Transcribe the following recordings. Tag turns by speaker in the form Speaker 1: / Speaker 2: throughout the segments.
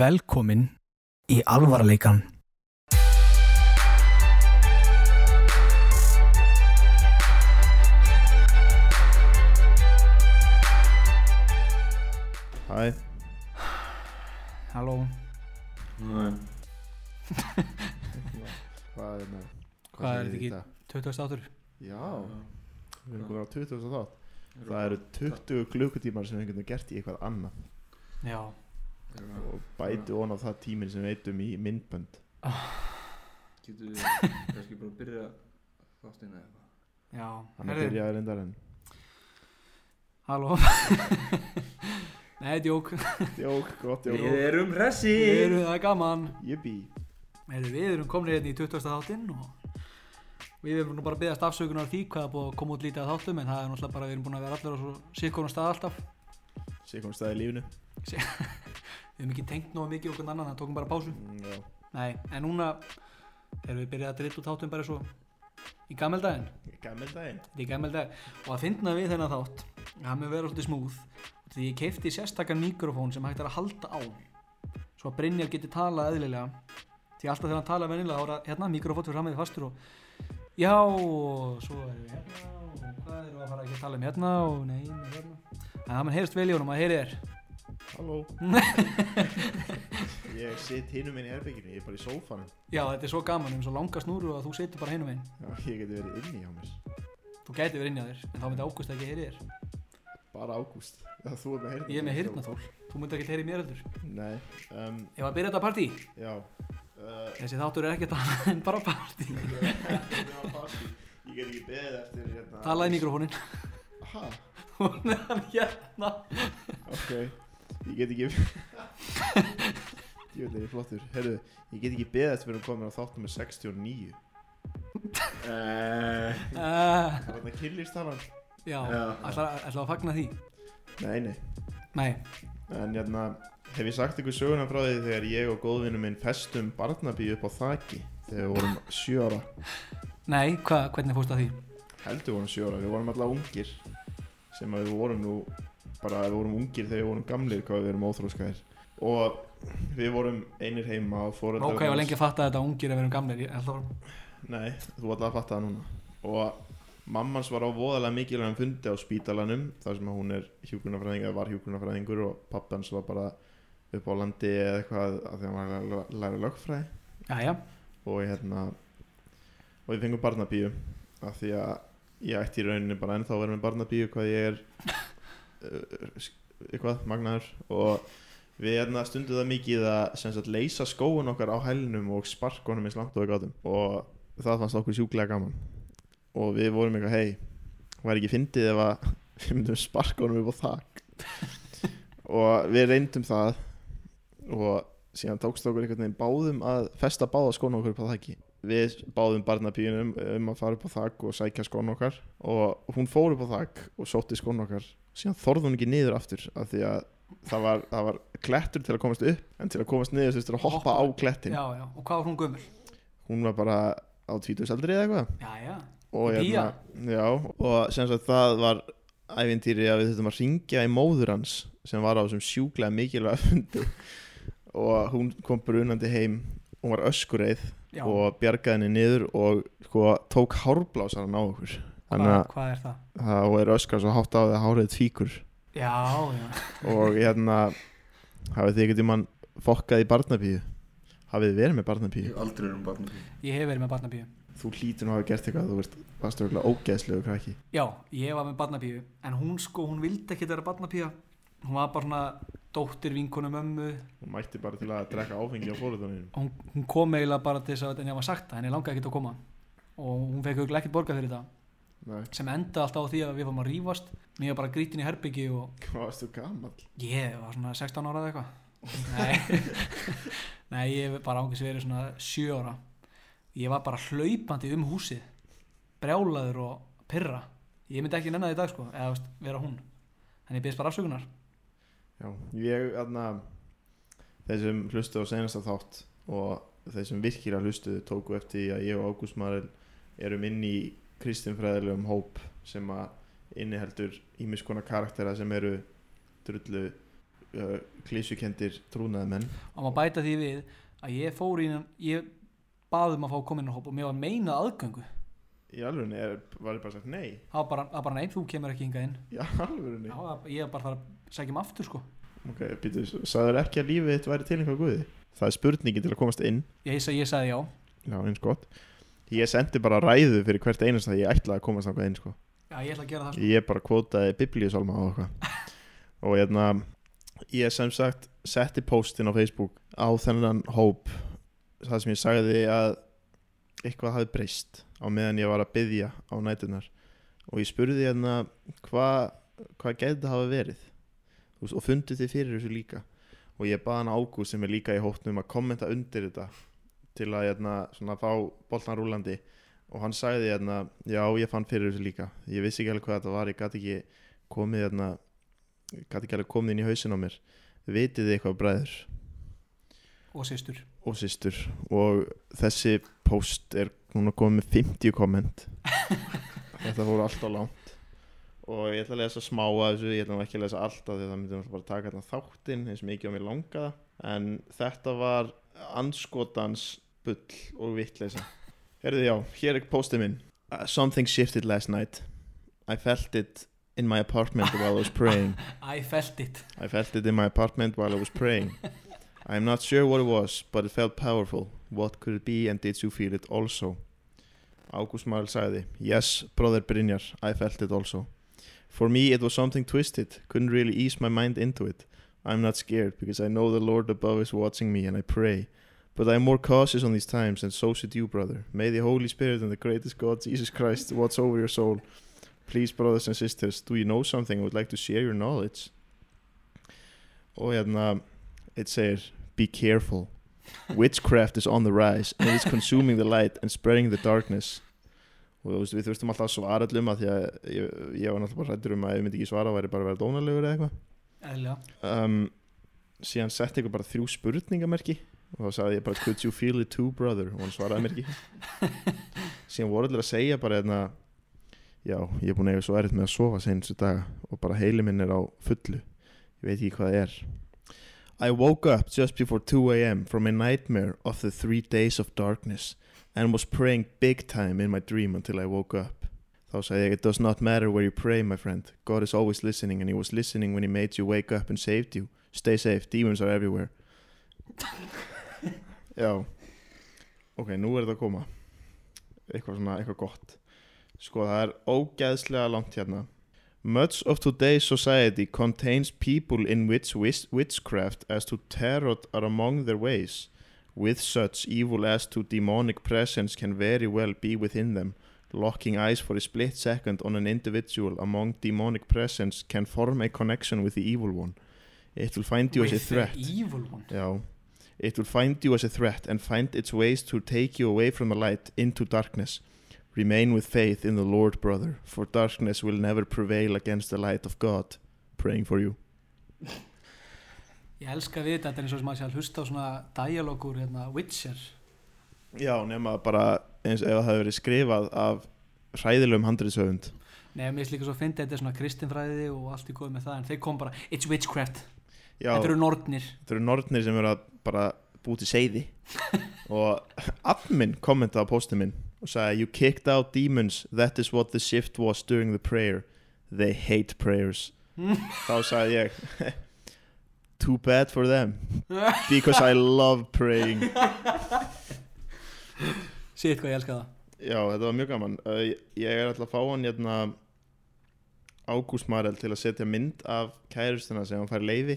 Speaker 1: Velkomin í alvarleikan.
Speaker 2: Hæ
Speaker 1: Halló,
Speaker 2: Nei Hvað er með
Speaker 1: Hvað er
Speaker 2: segir
Speaker 1: þetta
Speaker 2: í
Speaker 1: ekki?
Speaker 2: dag?
Speaker 1: 28.
Speaker 2: Já, við erum komin á 20 og þátt Það eru 20 klukkutímar sem við getum gert í eitthvað annað
Speaker 1: Já,
Speaker 2: og bæti ofan á það tíminn sem við eitum í myndbönd
Speaker 3: Getur við kannski bara að byrja þáttinn eða eitthvað
Speaker 1: já,
Speaker 2: Þannig að byrja að reyndar en
Speaker 1: halló. Nei, djók,
Speaker 2: Jók, gott, jók
Speaker 3: Við erum hressi
Speaker 1: við erum það er gaman.
Speaker 2: Jibbi
Speaker 1: Herri, við erum komin hérna í 20. þáttinn og við erum nú bara að byggja stafsökunar því hvað er búið að koma út lítið af þáttum en það er náttúrulega bara við erum búin að vera allir á svo sikkonum stað alltaf.
Speaker 2: Sér kom staði í lífinu
Speaker 1: Við erum ekki tengt nógu mikið okkur annan, það tókum bara pásu.
Speaker 2: Mm, Já,
Speaker 1: Nei, en núna erum við byrjað að drita út þáttum bara svo í gameldaginn.
Speaker 2: gammal daginn
Speaker 1: Þetta er gammal dag og að finna við þennan þátt það mun vera svolítið smúð því ég keipti sérstakann mikrofón sem hægt er að halda á svo að Brynjar geti talað eðlilega því alltaf þegar hann talaði venilega ára hérna mikrofón fyrir frammeði fastur og já og svo erum við hérna og hvað erum við að fara ekki að tala um hérna og nei, nei hérna en það mun heyrst vel í honum að heyri þér
Speaker 2: Halló Ég sitt hinum minn í herbygginu, ég er bara í sófanum
Speaker 1: já þetta er svo gaman um svo langa snúru að þú setur bara hinum einn
Speaker 2: Já, ég geti verið inni hjá mér
Speaker 1: þú gæti verið inn á þér en þá myndi águst ekki heyri þér
Speaker 2: Bara ágúst Já, þú er með heyrnartól
Speaker 1: ég er með heyrnatól þú myndi ekki heyri mér heldur
Speaker 2: Nei, um,
Speaker 1: ef að byrja þetta partí
Speaker 2: já uh,
Speaker 1: þessi þáttur er ekki að tala en bara partí
Speaker 2: Ég get ekki beðið eftir hérna
Speaker 1: Talaði í mikrofónin
Speaker 2: Aha,
Speaker 1: Hún er hann hérna
Speaker 2: ok Ég get ekki Ég veit það er ég flottur Herru, ég get ekki beðið eftir við erum komin á þáttum með 69
Speaker 3: Eh,
Speaker 1: uh,
Speaker 2: Það er þarna kynlýrstalan
Speaker 1: Já,
Speaker 3: Já.
Speaker 1: ætla ætla að fagna því
Speaker 2: Nei, nei
Speaker 1: Nei,
Speaker 2: En hérna, hef ég sagt ykkur söguna frá því þegar ég og góðvinnu minn festum barnabíu upp á þaki Þegar við vorum sjö ára
Speaker 1: nei, hva, hvernig fórst að því?
Speaker 2: Heldur vorum sjö ára, við vorum alltaf ungir Sem að við vorum nú Bara við vorum ungir þegar við vorum gamlir Hvað við erum óþróskaðir Og við vorum einir heima og foreldrar
Speaker 1: Ok, ég var
Speaker 2: hans-
Speaker 1: lengi að fatta þetta ungir ef við erum gamlir Ég ætla að
Speaker 2: Nei, þú ætlaði að fatta það núna Og mammans var á voðalega mikilvægum fundi á spítalanum Þar sem að hún er hjúkunarfræðing eða var hjúkunarfræðingur Og pappans var bara upp á landi eða eitthvað af Því að hann var að læra- læra lögfræði
Speaker 1: Jæja,
Speaker 2: og ég hérna og ég fengum barnabíu af því að ég ætti í rauninni bara ennþá að vera með barnabíu hvað ég er uh, sk- eitthvað, magnaður og við hérna stundum það mikið að sem sagt leysa skóun okkar á hælinum og sparka honum eins langt og við gátum og það fannst okkur sjúklega gaman og við vorum eitthvað, hei hún væri ekki fyndið ef að við myndum sparka honum upp á þak og við reyndum það og síðan tókst okkur einhvern veginn báðum að festa báða skónu okkur upp á þakki við báðum barnabíunum um að fara upp á þakk og sækja skónu okkar og hún fór upp á þakk og sótti skónu okkar síðan þorði hún ekki niður aftur af því að það var, það var klettur til að komast upp en til að komast niður þurftur að hoppa á klettin
Speaker 1: já, já Og hvað var hún gömur?
Speaker 2: hún var bara á tvítugsaldri eða eitthvað
Speaker 1: Jæja,
Speaker 2: og, hérna,
Speaker 1: Pía?
Speaker 2: já, og sem sagt það var ævintýri að við þurftum að ringja í móður hans sem var á þessum sjúklega mikilvæg fundi og hún kom brunandi heim hún var öskureið
Speaker 1: já
Speaker 2: og bjargaði henni niður og sko, tók hárblásar á okkur þannig
Speaker 1: hvað,
Speaker 2: að
Speaker 1: hvað er það?
Speaker 2: það er öskar svo hátt á því að hárið tvíkur
Speaker 1: Já, já
Speaker 2: og hérna hafið þið ekkert í mann fokkað í barnabíu hafið þið verið með barnabíu
Speaker 3: Ég hef aldrei verið um barnabíu
Speaker 1: Ég hef verið með barnabíu
Speaker 2: þú hlýtur nú að hafa gert eitthvað þú veist, varst örgulega ógeðslegu krakki
Speaker 1: Já, ég var með barnabíu En hún sko, hún vildi ekki vera barnabíu Hún var bara svona dóttir vinkonu mömmu
Speaker 2: Hún mætti bara til að drekka áfengi á fórhundunum
Speaker 1: hún, hún kom eiginlega bara til þess að en ég var sagt það, henni langaði ekki að koma og hún fekk auðvitað ekkert borgað fyrir þetta
Speaker 2: Nei,
Speaker 1: sem enda alltaf á því að við fórum að rífast mér var bara grítin í herbyggi og
Speaker 2: hvað varst þú gammal?
Speaker 1: ég var svona 16 ára eða eitthvað nei, nei, ég hef bara ángis verið svona 7 ára ég var bara hlaupandi um húsið brjálaður og pyrra ég myndi ekki nenni það í dag sko eða þú veist, vera hún en ég byrst bara afsökunar
Speaker 2: Já, ég, aðna þeir sem hlustu á senasta þátt og þeir sem virkilega hlustu tóku eftir því að ég og Ágúst Marel erum inn í kristinfræðilegum hóp sem að inniheldur ímiskona karaktera sem eru drullu uh, klísukendir trúnaðamenn
Speaker 1: og maður bæta því við að ég fór í innan, ég baðum að fá komin á hóp og mér var meina aðgöngu
Speaker 2: í alvörunni er, var ég bara sagt nei
Speaker 1: það var bara, það var bara nei, þú kemur ekki hingað inn
Speaker 2: í alvörunni
Speaker 1: Já, það- ég var bara þar að sækja mig aftur sko
Speaker 2: ok, býtu, sagður ekki að lífið þitt væri til einhver guði það er spurningin til að komast inn
Speaker 1: ég, ég, ég sagði já,
Speaker 2: já, eins gott ég sendi bara ræðu fyrir hvert einast að ég ætlaði að komast þangað inn sko.
Speaker 1: já ég ætla að gera það sko.
Speaker 2: ég bara kvótaði biblíusálma og eitthvað og hérna ég sem sagt setti postin á Facebook á þennan hóp það sem ég sagði að eitthvað hafi breyst á meðan ég var að byðja á nætunar og ég spurði hérna hvað hva gæti hafa verið Þú veist, og fundið þið fyrir þessu líka og ég baði hann Ágúst sem er líka í hópnum að kommenta undir þetta til að hérna, svona, fá boltan rúlandi og hann sagði hérna já ég fann fyrir þessu líka ég vissi ekki alveg hvað þetta var ég gat ekki komið hérna gat ekki alveg komið inn í hausin á mér vitið þið eitthvað bræður
Speaker 1: og sýstur
Speaker 2: og systur og þessi post er núna komið með 50 komment þetta fór alltaf langt og ég ætla að lesa smá að þessu ég ætla nú ekki að lesa alltaf því að það myndi náttúrulega bara taka þarna þáttinn eins mikið á mér langaða en þetta var anskotans bull og vittleysa Herðu já, hér er postið minn uh, Something shifted last night I felt it in my apartment while I was praying
Speaker 1: I felt it
Speaker 2: I felt it in my apartment while I was praying. I am not sure what it was, but it felt powerful. What could it be and did you feel it also? August Marl sagði, Yes, brother Brynjar, I felt it also. For me it was something twisted, couldn't really ease my mind into it. I'm not scared because I know the Lord above is watching me and I pray. But I'm more cautious on these times and so should you, brother. May the Holy Spirit and the greatest God, Jesus Christ, watch over your soul. Please, brothers and sisters, do you know something and would like to share your knowledge? og hérna it segir be careful witchcraft is on the rise and it's consuming the light and spreading the darkness og þú veist við þurftum alltaf að svara allum að því að ég, ég var náttúrulega bara hrættur um að ef ég myndi ekki svara væri bara að vera dónalegur eða eitthvað
Speaker 1: eðlilega
Speaker 2: um, síðan setti ykkur bara þrjú spurningamerki og þá sagði ég bara could you feel it too brother og hann svaraði mér ekki síðan voru allir að segja bara hérna já, ég er búin að eiga svo erfitt með að sofa seinustu daga og bara heili minn er á fullu ég veit ekki hvað það er I woke up just before 2am from a nightmare of the three days of darkness and was praying big time in my dream until I woke up Þá sagði ég, it does not matter where you pray, my friend. God is always listening and he was listening when he made you wake up and saved you. Stay safe, demons are everywhere. Já. Ok, nú er þetta að koma. Eitthvað svona, eitthvað gott. Sko, það er ógeðslega langt hérna. Much of today's society contains people in which wis- witchcraft as to tarot are among their ways. With such evil as to demonic presence can very well be within them. Locking eyes for a split second on an individual among demonic presence can form a connection with the evil one. It will find you as a
Speaker 1: With the
Speaker 2: threat.
Speaker 1: evil one
Speaker 2: Já It will find you as a threat and find its ways to take you away from the light into darkness. Remain with faith in the Lord, brother, for darkness will never prevail against the light of God. Praying for you.
Speaker 1: ég elska við þetta þetta er eins og sem að sé að hlusta á svona dialogur hérna Witcher
Speaker 2: Já, nema bara eins ef það hefur verið skrifað af hræðilegum handriðsöfund.
Speaker 1: Nei, mér finnst líka svo að fyndi þetta er svona kristinfræði og allt í góð með það en þeir kom bara, it's witchcraft,
Speaker 2: Já,
Speaker 1: þetta eru nornir
Speaker 2: þetta eru nornir sem eru að bara búti seiði og admin kommentaði á postin minn og sagði You kicked out demons, that is what the shift was during the prayer. They hate prayers. Þá sagði ég Too bad for them because I love praying.
Speaker 1: Sitt hvað ég elska það
Speaker 2: Já, þetta var mjög gaman. Uh, ég- ég er alltaf að fá hann hérna Ágúst Marel til að setja mynd af kærustina sem hann fær leiði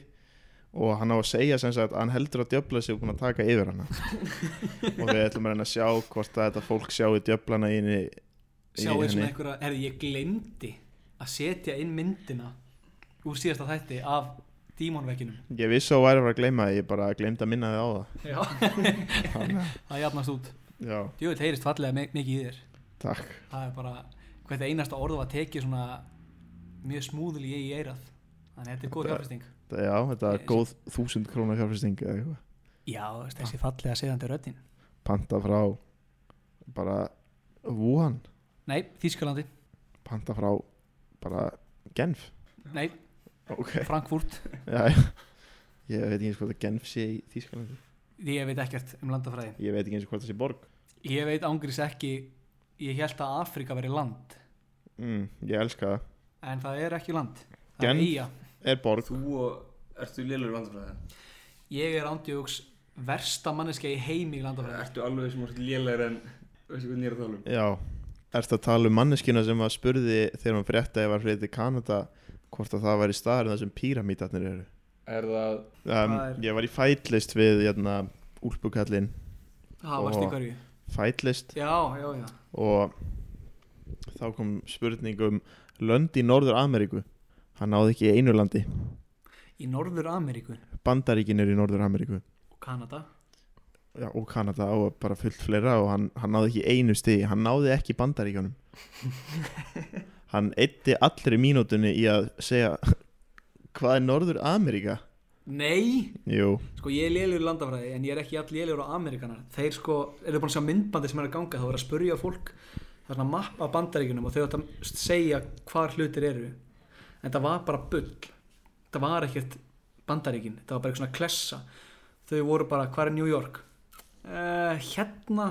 Speaker 2: og hann á að segja sem sagt að hann heldur að djöfla sig og búin að taka yfir hana og við ætlum að reyna að sjá hvort að þetta fólk sjáu djöflana í henni í
Speaker 1: Sjáu svona
Speaker 2: henni.
Speaker 1: einhverja, herri, ég glemdi að setja inn myndina úr síðasta þætti af dímonvegginum
Speaker 2: Ég vissi að þú væri að fara að gleyma það, ég bara gleymd að minna þið á
Speaker 1: Já,
Speaker 2: það Þannig að-
Speaker 1: það jafnast út
Speaker 2: Já,
Speaker 1: Jú, þetta heyrist fallega mi- mikið í þér
Speaker 2: takk
Speaker 1: Það er bara, hvernig einasta orð var tekið svona mjög smúðli í eirað Þannig að þetta er góð
Speaker 2: Þetta-
Speaker 1: hjálpisting
Speaker 2: Þetta- Já, þetta er góð þúsund krónar fjárfyrsting eða eitthvað
Speaker 1: Já, þú veist, þessi fallega segðandi röddin
Speaker 2: Panta frá bara Wuhan
Speaker 1: Nei, Þískalandi,
Speaker 2: panta frá bara Genf
Speaker 1: nei,
Speaker 2: ok,
Speaker 1: Frankfurt
Speaker 2: já, já. Ég veit ekki eins hvort að Genf sé í Þýskalandi
Speaker 1: Ég veit ekkert um landafræði
Speaker 2: Ég veit ekki eins hvort það sé borg
Speaker 1: Ég veit ángriðs ekki Ég held að Afrika veri land
Speaker 2: mm, Ég elska það
Speaker 1: En það er ekki land Það er
Speaker 2: Genf?
Speaker 1: eiga
Speaker 2: Er borg
Speaker 3: Þú og Ertu lélur landafræði?
Speaker 1: Ég er ándjóks versta manneskja í heimi í landafræði
Speaker 3: Ertu alveg sem orðið lélæri en Veistu hvernig ég er að tala um?
Speaker 2: Já Erst að tala um manneskina sem að spurði þegar hún frétta ef að flytti til Kanada hvort að það væri staðar en það sem píramítarnir eru
Speaker 3: Er það
Speaker 2: um,
Speaker 1: Það er-
Speaker 2: Ég var í fætlist við hérna, jæna, úlpukallin
Speaker 1: Það varst í
Speaker 2: Ó.
Speaker 1: hverju
Speaker 2: fætlist
Speaker 1: Já, já, já
Speaker 2: og þá kom spurning um lönd í Norður Ameríku Hann náði ekki í einu landi
Speaker 1: Í Norður Ameríku
Speaker 2: Bandaríkin eru í Norður Ameríku
Speaker 1: og Kanada
Speaker 2: já, og Kanada og bara fullt fleira og hann, hann náði ekki einu stigi, hann náði ekki bandaríkjónum hann eitti allri mínútunni í að segja hvað er Norður Ameríka?
Speaker 1: Nei,
Speaker 2: Jú,
Speaker 1: sko ég er lélegur í landafræði en ég er ekki all lélegur á Ameríkanar Þeir sko, eru búin að sjá myndbandi sem er að ganga þá er að spurja fólk það er svona mapp af bandaríkunum og þau átt að segja hvar hlutir eru en það var bara bull það var ekkert bandaríkin það var bara eitthvað svona klessa þau voru bara, hvar er New York? Uh, hérna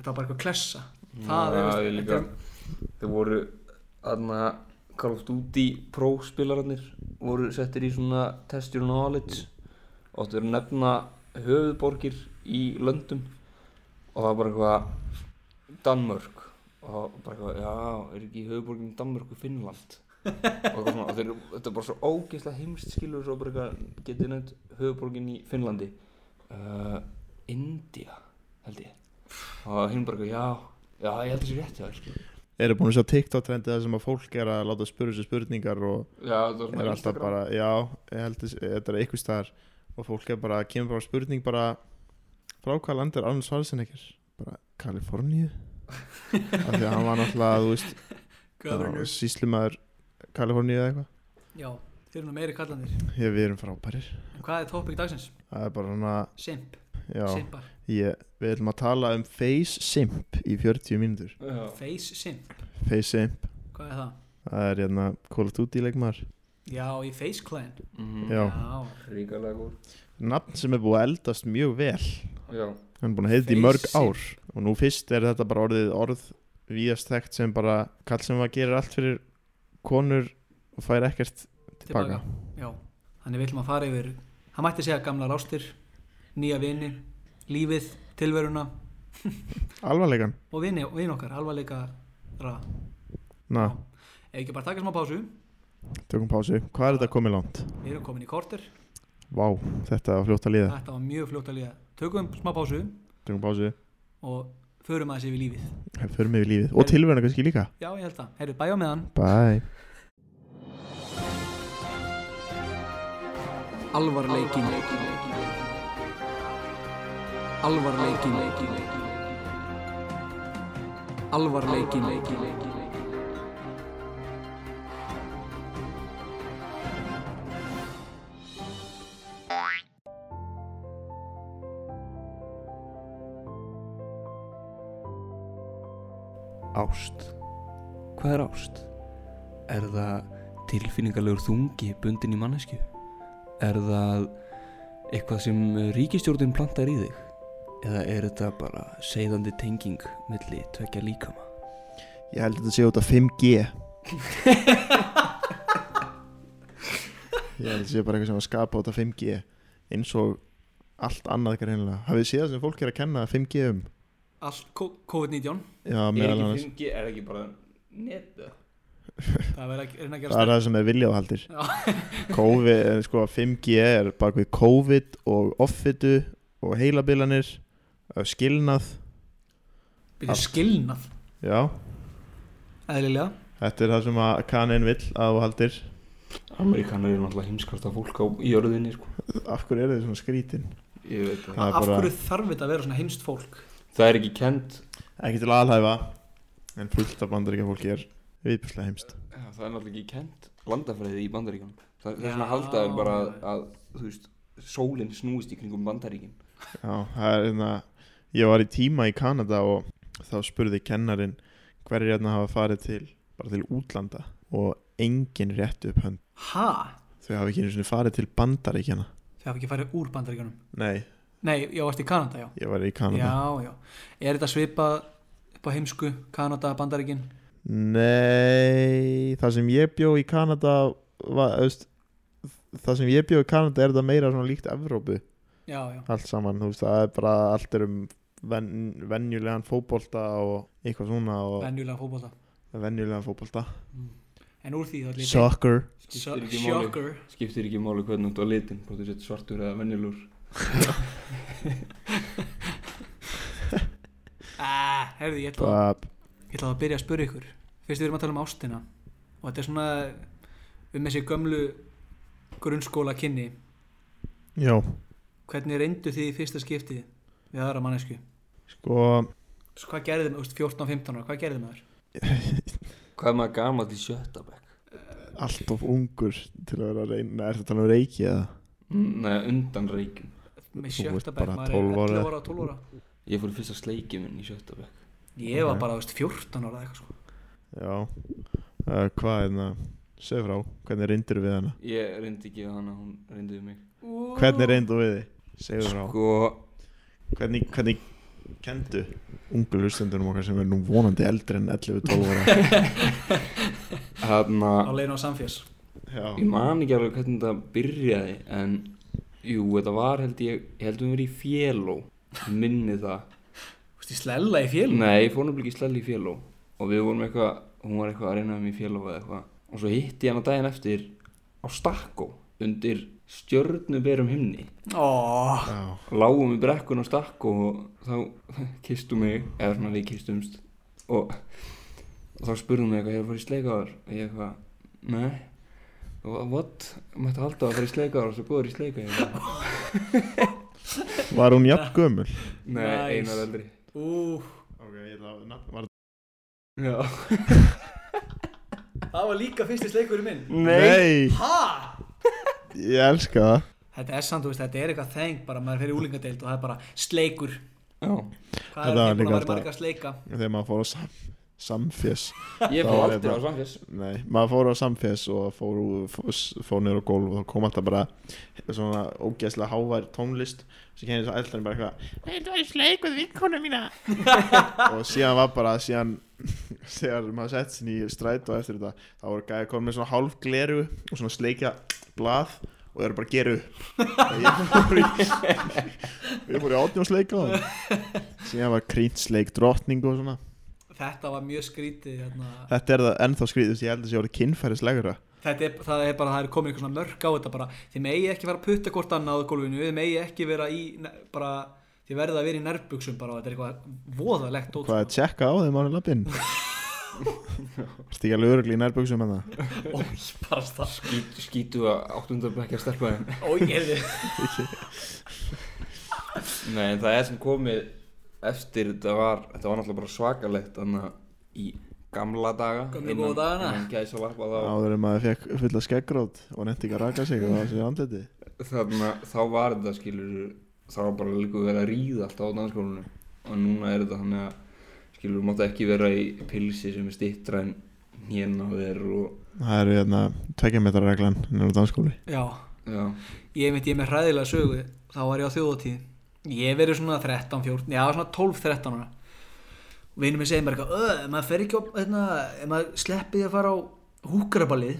Speaker 1: þetta var bara eitthvað klessa það
Speaker 3: Já,
Speaker 1: er,
Speaker 3: ég
Speaker 1: veist,
Speaker 3: líka.
Speaker 1: þetta
Speaker 3: Þeir voru aðna Call of Duty próspilararnir voru settir í svona test your knowledge og þeir nefna höfuðborgir í löndum og það var bara eitthvað Danmörk og það var bara eitthvað, já, er ekki höfuðborgin Danmörk og Finnland og, eitthvað svona, og þeir, þetta er bara svo ógeðslega heimst skilur svo bara eitthvað, getið nefnt höfuðborgin í Finnlandi uh, India, held ég og hinn bara eitthvað, já, já, ég held þessi rétt hjá þér sko. skilur
Speaker 2: eru búin að sjá TikTok-trendi það sem að fólk er að láta spurðu sér spurningar og
Speaker 3: Já, það var
Speaker 2: er
Speaker 3: svona
Speaker 2: alltaf
Speaker 3: Instagram
Speaker 2: bara, já, ég held að þetta er eitthvað staðar og fólk er bara, kemur bara spurning bara frá hvað land er Arnold Schwarzenegger? Bara Kaliforníu? af því að hann var náttúrulega, þú veist,
Speaker 1: Governor
Speaker 2: síslumæður Kaliforníu eða eitthvað
Speaker 1: já, þeir eru nú meiri kallandir
Speaker 2: Já, við erum frábærir
Speaker 1: en hvað er topic dagsins?
Speaker 2: Það er bara svona,
Speaker 1: Simp,
Speaker 2: já
Speaker 1: simpar,
Speaker 2: ég, Við ætlum að tala um face simp í 40 mínútur
Speaker 3: Já,
Speaker 1: face simp
Speaker 2: Face simp,
Speaker 1: hvað er það?
Speaker 2: það er hérna Call of Duty leikmaður
Speaker 1: Já, í Face Clan
Speaker 3: mhm,
Speaker 2: Já,
Speaker 1: Já,
Speaker 3: ríkalega góð
Speaker 2: nafn sem er búið að eldast mjög vel
Speaker 3: Já,
Speaker 2: Hann er búin að heita í
Speaker 1: Face
Speaker 2: mörg
Speaker 1: simp.
Speaker 2: ár Og nú fyrst er þetta bara orðið orð Víðast þekkt sem bara Kall sem að gera allt fyrir konur Og fær ekkert tilbaka,
Speaker 1: Tilbaka. já Þannig við ætlum að fara yfir Hann mætti segja gamla rástir Nýja vini, lífið, tilveruna
Speaker 2: Alvarleikan
Speaker 1: Og vini, vini okkar, alvarleika ra
Speaker 2: Na,
Speaker 1: Ef ekki bara taka smá pásu
Speaker 2: tökum pásu Hvað er þetta komið langt?
Speaker 1: Við erum komin í korter
Speaker 2: Vá, þetta var fljótt að líða
Speaker 1: Þetta var mjög fljótt að líða Tökum smá pásu
Speaker 2: Tökum pásu
Speaker 1: og förum aðeins yfir lífið
Speaker 2: Förum yfir lífið Og tilverðina kannski líka
Speaker 1: Já, ég held það Heyrðu, bæja meðan
Speaker 2: Bye
Speaker 1: Alvarleikin Alvarleikin Alvarleikin
Speaker 3: ást Hvað er ást? Er það tilfinningalegur þungi bundin í mannesku? Er það eitthvað sem ríkistjórnin plantar í þig? Eða er þetta bara seiðandi tenging milli tvekja líkama?
Speaker 2: Ég held að þetta sé út af 5G Ég held að þetta sé bara eitthvað sem að skapa út af 5G eins og allt annað greinlega Hafið þið séð það sem fólk er að kenna 5G um
Speaker 1: Allt ko- COVID-19
Speaker 2: Já, meðal annars
Speaker 3: þungi, er ekki bara netta?
Speaker 1: Það er að reyna að
Speaker 2: Það
Speaker 1: gera
Speaker 2: er það sem er viljáhaldir
Speaker 1: Já.
Speaker 2: COVID, eh, sko, 5G er bak við COVID og offitu og heilabilanir eh, skilnað
Speaker 1: Byrja skilnað
Speaker 2: Já,
Speaker 1: Eðlilega
Speaker 2: þetta er það sem að kanin vill að þú haldir
Speaker 3: Amerikanar eru náttúrulega heimskarta fólk á jörðinni sko.
Speaker 2: Af hverju eru þið svona skrítin?
Speaker 3: Ég veit það
Speaker 2: Það er
Speaker 1: Af
Speaker 2: bara-
Speaker 1: hverju þarf þetta að vera svona heimst fólk?
Speaker 3: Það er ekki kent
Speaker 2: Ekki til aðalhæfa En fullt af bandaríka fólki er viðbjörnslega heimst
Speaker 3: Já, það er náttúrulega ekki kent landafræði í bandaríkjum Það það
Speaker 1: Já.
Speaker 3: er svona haldaður bara að, að, þú veist, sólinn snúist í kringum bandaríkin
Speaker 2: Já, það er hérna Ég var í tíma í Kanada og þá spurði kennarin hverjir hérna hafa farið til bara til útlanda og engin rétt upp hönd
Speaker 1: Ha?
Speaker 2: Þau hafa ekki einu sinni farið til bandaríkjana
Speaker 1: Þau hafa ekki farið úr bandaríkjunum
Speaker 2: Nei,
Speaker 1: Nei, já, varst í Kanada, já
Speaker 2: ég var í Kanada
Speaker 1: Já, já Er þetta svipað upp á heimsku Kanada, bandaríkin
Speaker 2: Nei, það sem ég bjó í Kanada var, veist, Það sem ég bjó í Kanada er það meira svona líkt Evrópu
Speaker 1: Já, já
Speaker 2: allt saman, þú veist, það er bara allt er um ven, venjulegan fótbolta og eitthvað svona og
Speaker 1: Venjulega fótbolta
Speaker 2: venjulegan fótbolta
Speaker 1: En úr því þá er líka
Speaker 2: Soccer
Speaker 1: So-
Speaker 3: Skiptir ekki máli.
Speaker 1: Shocker
Speaker 3: skiptir ekki máli hvernig þú ert á litin hvort þú sett svartur eða venjulur
Speaker 1: Ah, herði, ég ætla að
Speaker 2: Bab.
Speaker 1: Ég ætla að byrja að spyrja ykkur Fyrst við erum að tala um ástina og þetta er svona um þessi gömlu grunnskóla kynni
Speaker 2: Já,
Speaker 1: hvernig reyndu þið í fyrsta skipti við aðra mannesku
Speaker 2: sko
Speaker 1: Svo hvað gerði maður, þú veist, 14-15 ára, hvað gerði maður?
Speaker 3: hvað er maður gamall í sjötta bekk
Speaker 2: allt of ungur til að vera að reyna er þetta talað um reiki eða?
Speaker 3: neða undan reykjum
Speaker 1: Með
Speaker 2: Þú ert
Speaker 1: sjötta bekk,
Speaker 2: bara
Speaker 1: maður
Speaker 2: 12
Speaker 1: er
Speaker 2: ára.
Speaker 1: 11 ára, 12 ára
Speaker 3: ég fór í fyrsta sleikið minn í sjötta bekk
Speaker 1: Ég var
Speaker 2: Ok.
Speaker 1: bara, þú veist, 14 ára eða eitthvað sko
Speaker 2: Já, uh, hvað er það? Segð frá, hvernig reyndir við hana?
Speaker 3: ég reyndi ekki við hana, hún reyndi við mig
Speaker 1: sko.
Speaker 2: Hvernig reyndu við þið? Segðu frá
Speaker 3: sko,
Speaker 2: Hvernig, hvernig kendu ungu hlustendunum okkar sem er nú vonandi eldri en 11-12 ára
Speaker 3: hérna
Speaker 1: Á leiðin á samfjörs
Speaker 2: Já,
Speaker 3: ég man ekki alveg hvernig þetta byrjaði en jú, þetta var held ég ég held við verið í fjéló minni það
Speaker 1: Þú veist, ég slella í félum
Speaker 3: Nei, ég fór nefnilega ekki slell í fjöló og við vorum eitthvað, hún var eitthvað að reyna um í fjöló eða eitthvað og svo hitti ég hana daginn eftir á Stakko undir stjörnuberum himni
Speaker 1: Ó,
Speaker 2: já,
Speaker 3: lágum í brekkun á Stakko og þá kistu mig eða svona við kistumst og, og þá spurðum mig eitthvað, hefur farið í sleikaðar og ég eitthvað, nei og what, mætti halda að fara í sleikaðar og svo góður í sleikaðar
Speaker 2: var hún jafn gömul?
Speaker 3: nei,
Speaker 1: Nice.
Speaker 3: einar eldri
Speaker 1: ú,
Speaker 2: Ok, ég ætla að nafn var
Speaker 3: Já.
Speaker 1: það var líka fyrsti sleikurinn minn
Speaker 2: Nei,
Speaker 1: Ha?
Speaker 2: ég elska það
Speaker 1: Þetta er samt, þú veist, þetta er eitthvað þeng bara maður fyrir úlingadeild og það er bara sleikur
Speaker 3: Já.
Speaker 1: Hvað er
Speaker 2: Þetta
Speaker 1: þetta
Speaker 2: var
Speaker 1: búin að
Speaker 2: líka
Speaker 1: vera
Speaker 2: alltaf-
Speaker 1: marga sleika?
Speaker 2: Þegar maður fór á sam, samfés
Speaker 3: ég fór
Speaker 2: Þá var ég
Speaker 3: aldrei
Speaker 2: bara-
Speaker 3: á samféls
Speaker 2: Nei, maður fór á samfés og fór, úr- fór, fór niður á gólf og þá kom alltaf bara svona ógeðslega hávær tónlist sem kennið svo eldan bara eitthvað Þetta var í sleik við vinkonu mína og síðan var bara síðan þegar maður sett sinni í stræt og eftir þetta þá voru gæði komið með svona hálf gleru og svona sleikja blað og eru bara að gera upp og ég fór í ég fór í átjum sleika og síðan var krýnt sleik drottning og svona
Speaker 1: Þetta var mjög skrítið hérna.
Speaker 2: þetta er það ennþá skrýðust ég held að sé orðið kynfærislegra
Speaker 1: Þetta er, það er bara, það er komið eitthvað svona mörk á þetta bara Þið megi ekki vera að putta hvort annað á gólfinu Þið megi ekki vera í, ne- bara Þið verðið að vera í nærbuksum bara og Þetta er eitthvað voðalegt dót,
Speaker 2: Hvað er að tjekka á þeim árið lappinn? Ertu ekki alveg örugli í hérna? nærböksum en það?
Speaker 1: sko. Ói, bara það
Speaker 3: skýtu, skýtu að áttundabækja stelpaðin
Speaker 1: Ói, heyrðu
Speaker 3: Nei, en það er sem komið eftir þetta var, þetta var náttúrulega bara svakalegt þannig að í gamla daga
Speaker 1: Gömlu góðu dagana.
Speaker 3: gæsa lappa þá
Speaker 2: Áður en maður fekk fulla skeggrót og nefndi ekki að raka sig og það sé andliti
Speaker 3: þannig að þá var þetta skilur þá var bara líka verið að ríða alltaf á danskólunum og núna er þetta þannig að skilur mátt ekki vera í pilsi sem er stittra en hérna á þér og
Speaker 2: Það eru hérna tveggjametra reglan nefnir á danskóli
Speaker 1: Já,
Speaker 3: já,
Speaker 1: ég veit, ég er með hræðilega sögu Þá var ég á þjóðatíð Ég hef verið svona 13, 14, já svona 12, 13 ára Og vinur minn segir mér eitthvað "Ö, Ef maður fer ekki á, hérna, ef maður sleppið að fara á húkaraballið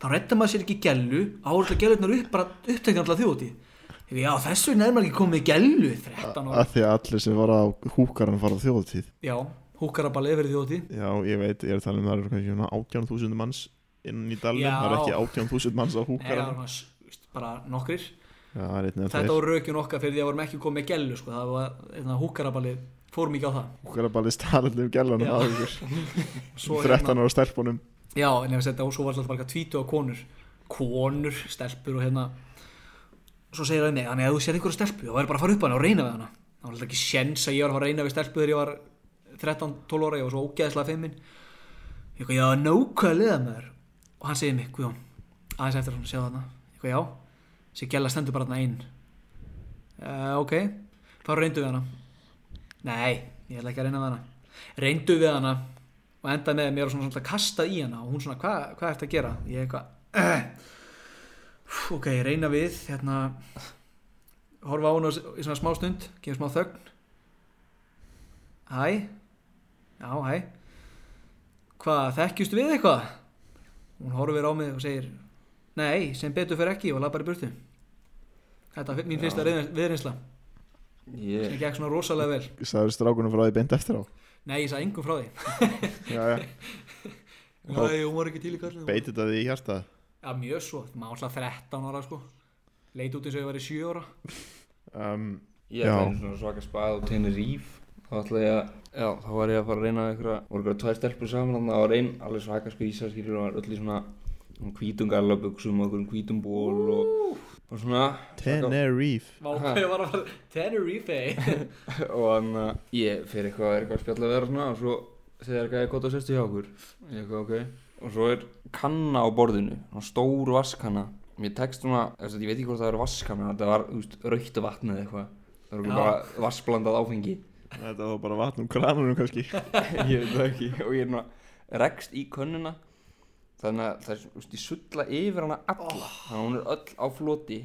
Speaker 1: Þá reddar maður sér ekki gellu Áhverjulega gellunar upp, bara upptekna alltaf þjóðatíð Ég veit, Já, þessu vegna er maður ekki komið í gellu 13 ára
Speaker 2: Af því að allir sem fara á húkaran fara á þjóðatíð
Speaker 1: Já, húkaraballið verið þjóðatíð
Speaker 2: Já, ég veit, ég er að tala um það eru kannski svona 18.000 manns inn í dalnum
Speaker 1: Já.
Speaker 2: Það eru ekki 18.000 manns á
Speaker 1: Nei, það var
Speaker 2: húkaran
Speaker 1: svona, s- veist, bara nokkrir
Speaker 2: Já, það er einn eða
Speaker 1: Þetta
Speaker 2: þeir
Speaker 1: voru rökjun okkar fyrir því að vorum ekki komið í gellu sko. Það var húkaraballið, fórum ekki á það
Speaker 2: Húkaraballi staðallum gælanum
Speaker 1: Já.
Speaker 2: á ykkur
Speaker 1: Svo hérna. er
Speaker 2: 13 ára stelpunum
Speaker 1: Já, en ef þetta og svo var alltaf bara eitthvað tvítu á konur konur, stelpur og hérna svo segir það mig, þannig að ef þú sér einhverja stelpu þá væri bara að fara upp á hana og reyna við hana þá var alltaf ekki sjens að ég var að fara að reyna við stelpu þegar ég var 13-12 ára, ég var svo ógeðslega fimmin ég eitthvað, já, nákvæmlega maður og hann segir mig, Guðjón aðeins eftir hann, séð þarna, Ég eitthvað, já sér gæla stendur bara þarna einn uh, ok, þá reyndu við hana Nei, ég ætla ekki að reyna við hana Reyndu við hana og endaði með að mér var svona, svona kastað í hana og hún svona, "Hva- hvað hva ertu að gera? Ég eitthvað "Eh." ok, reyna við hérna horfa á hún í svona smá stund gefa smá þögn hæ já, hæ hvað, þekkjust við eitthvað hún horfir á mig og segir nei, sem betur fyrir ekki og lappar í burtu þetta er mín fyrsta
Speaker 2: Já.
Speaker 1: reyðin- viðreynsla sem
Speaker 3: Ég,
Speaker 1: gekk svona rosalega vel
Speaker 2: Sæður strákunum frá því beint eftir á
Speaker 1: nei, ég sagði engum frá því
Speaker 2: Já, já Og
Speaker 1: nei, hún var ekki til í kallið
Speaker 2: beitir það því í hjarta
Speaker 1: Já, mjög svo, maður alltaf 13 ára sko Leit út eins og ég var í 7 ára
Speaker 2: um,
Speaker 3: ég
Speaker 2: Já.
Speaker 3: er með svona svaka spað og tegnir ríf þá ætla ég að, já, þá var ég að fara að reyna einhverja, voru einhverja tvær stelpur saman þannig að það var einn alveg svaka skvísa skýrur og var öll í svona svona hvítum gallabuxum og einhverjum hvítum ból og, og svona
Speaker 2: Tenerife
Speaker 1: Vá, ég var að fara Tenerife
Speaker 3: og þannig að ég fyrir eitthvað, er eitthvað að spjalla við vera svona og svo segir eitthvað ég gott að sestu hjá okkur ég eitthvað ok og svo er kanna á borðinu, svona stór vaskanna mér tekst svona, þess að ég veit ekki hvort það er vaskanna þetta var, þú veist, raukt vatn eða eitthvað það var
Speaker 1: Já.
Speaker 3: bara vassblandað áfengi
Speaker 2: Þetta var bara vatn um kranunum kannski
Speaker 3: ég veit það ekki og ég er náttúrulega rekst í könnuna þannig að það er, þú veist, ég sulla yfir hana alla þannig að hún er öll á floti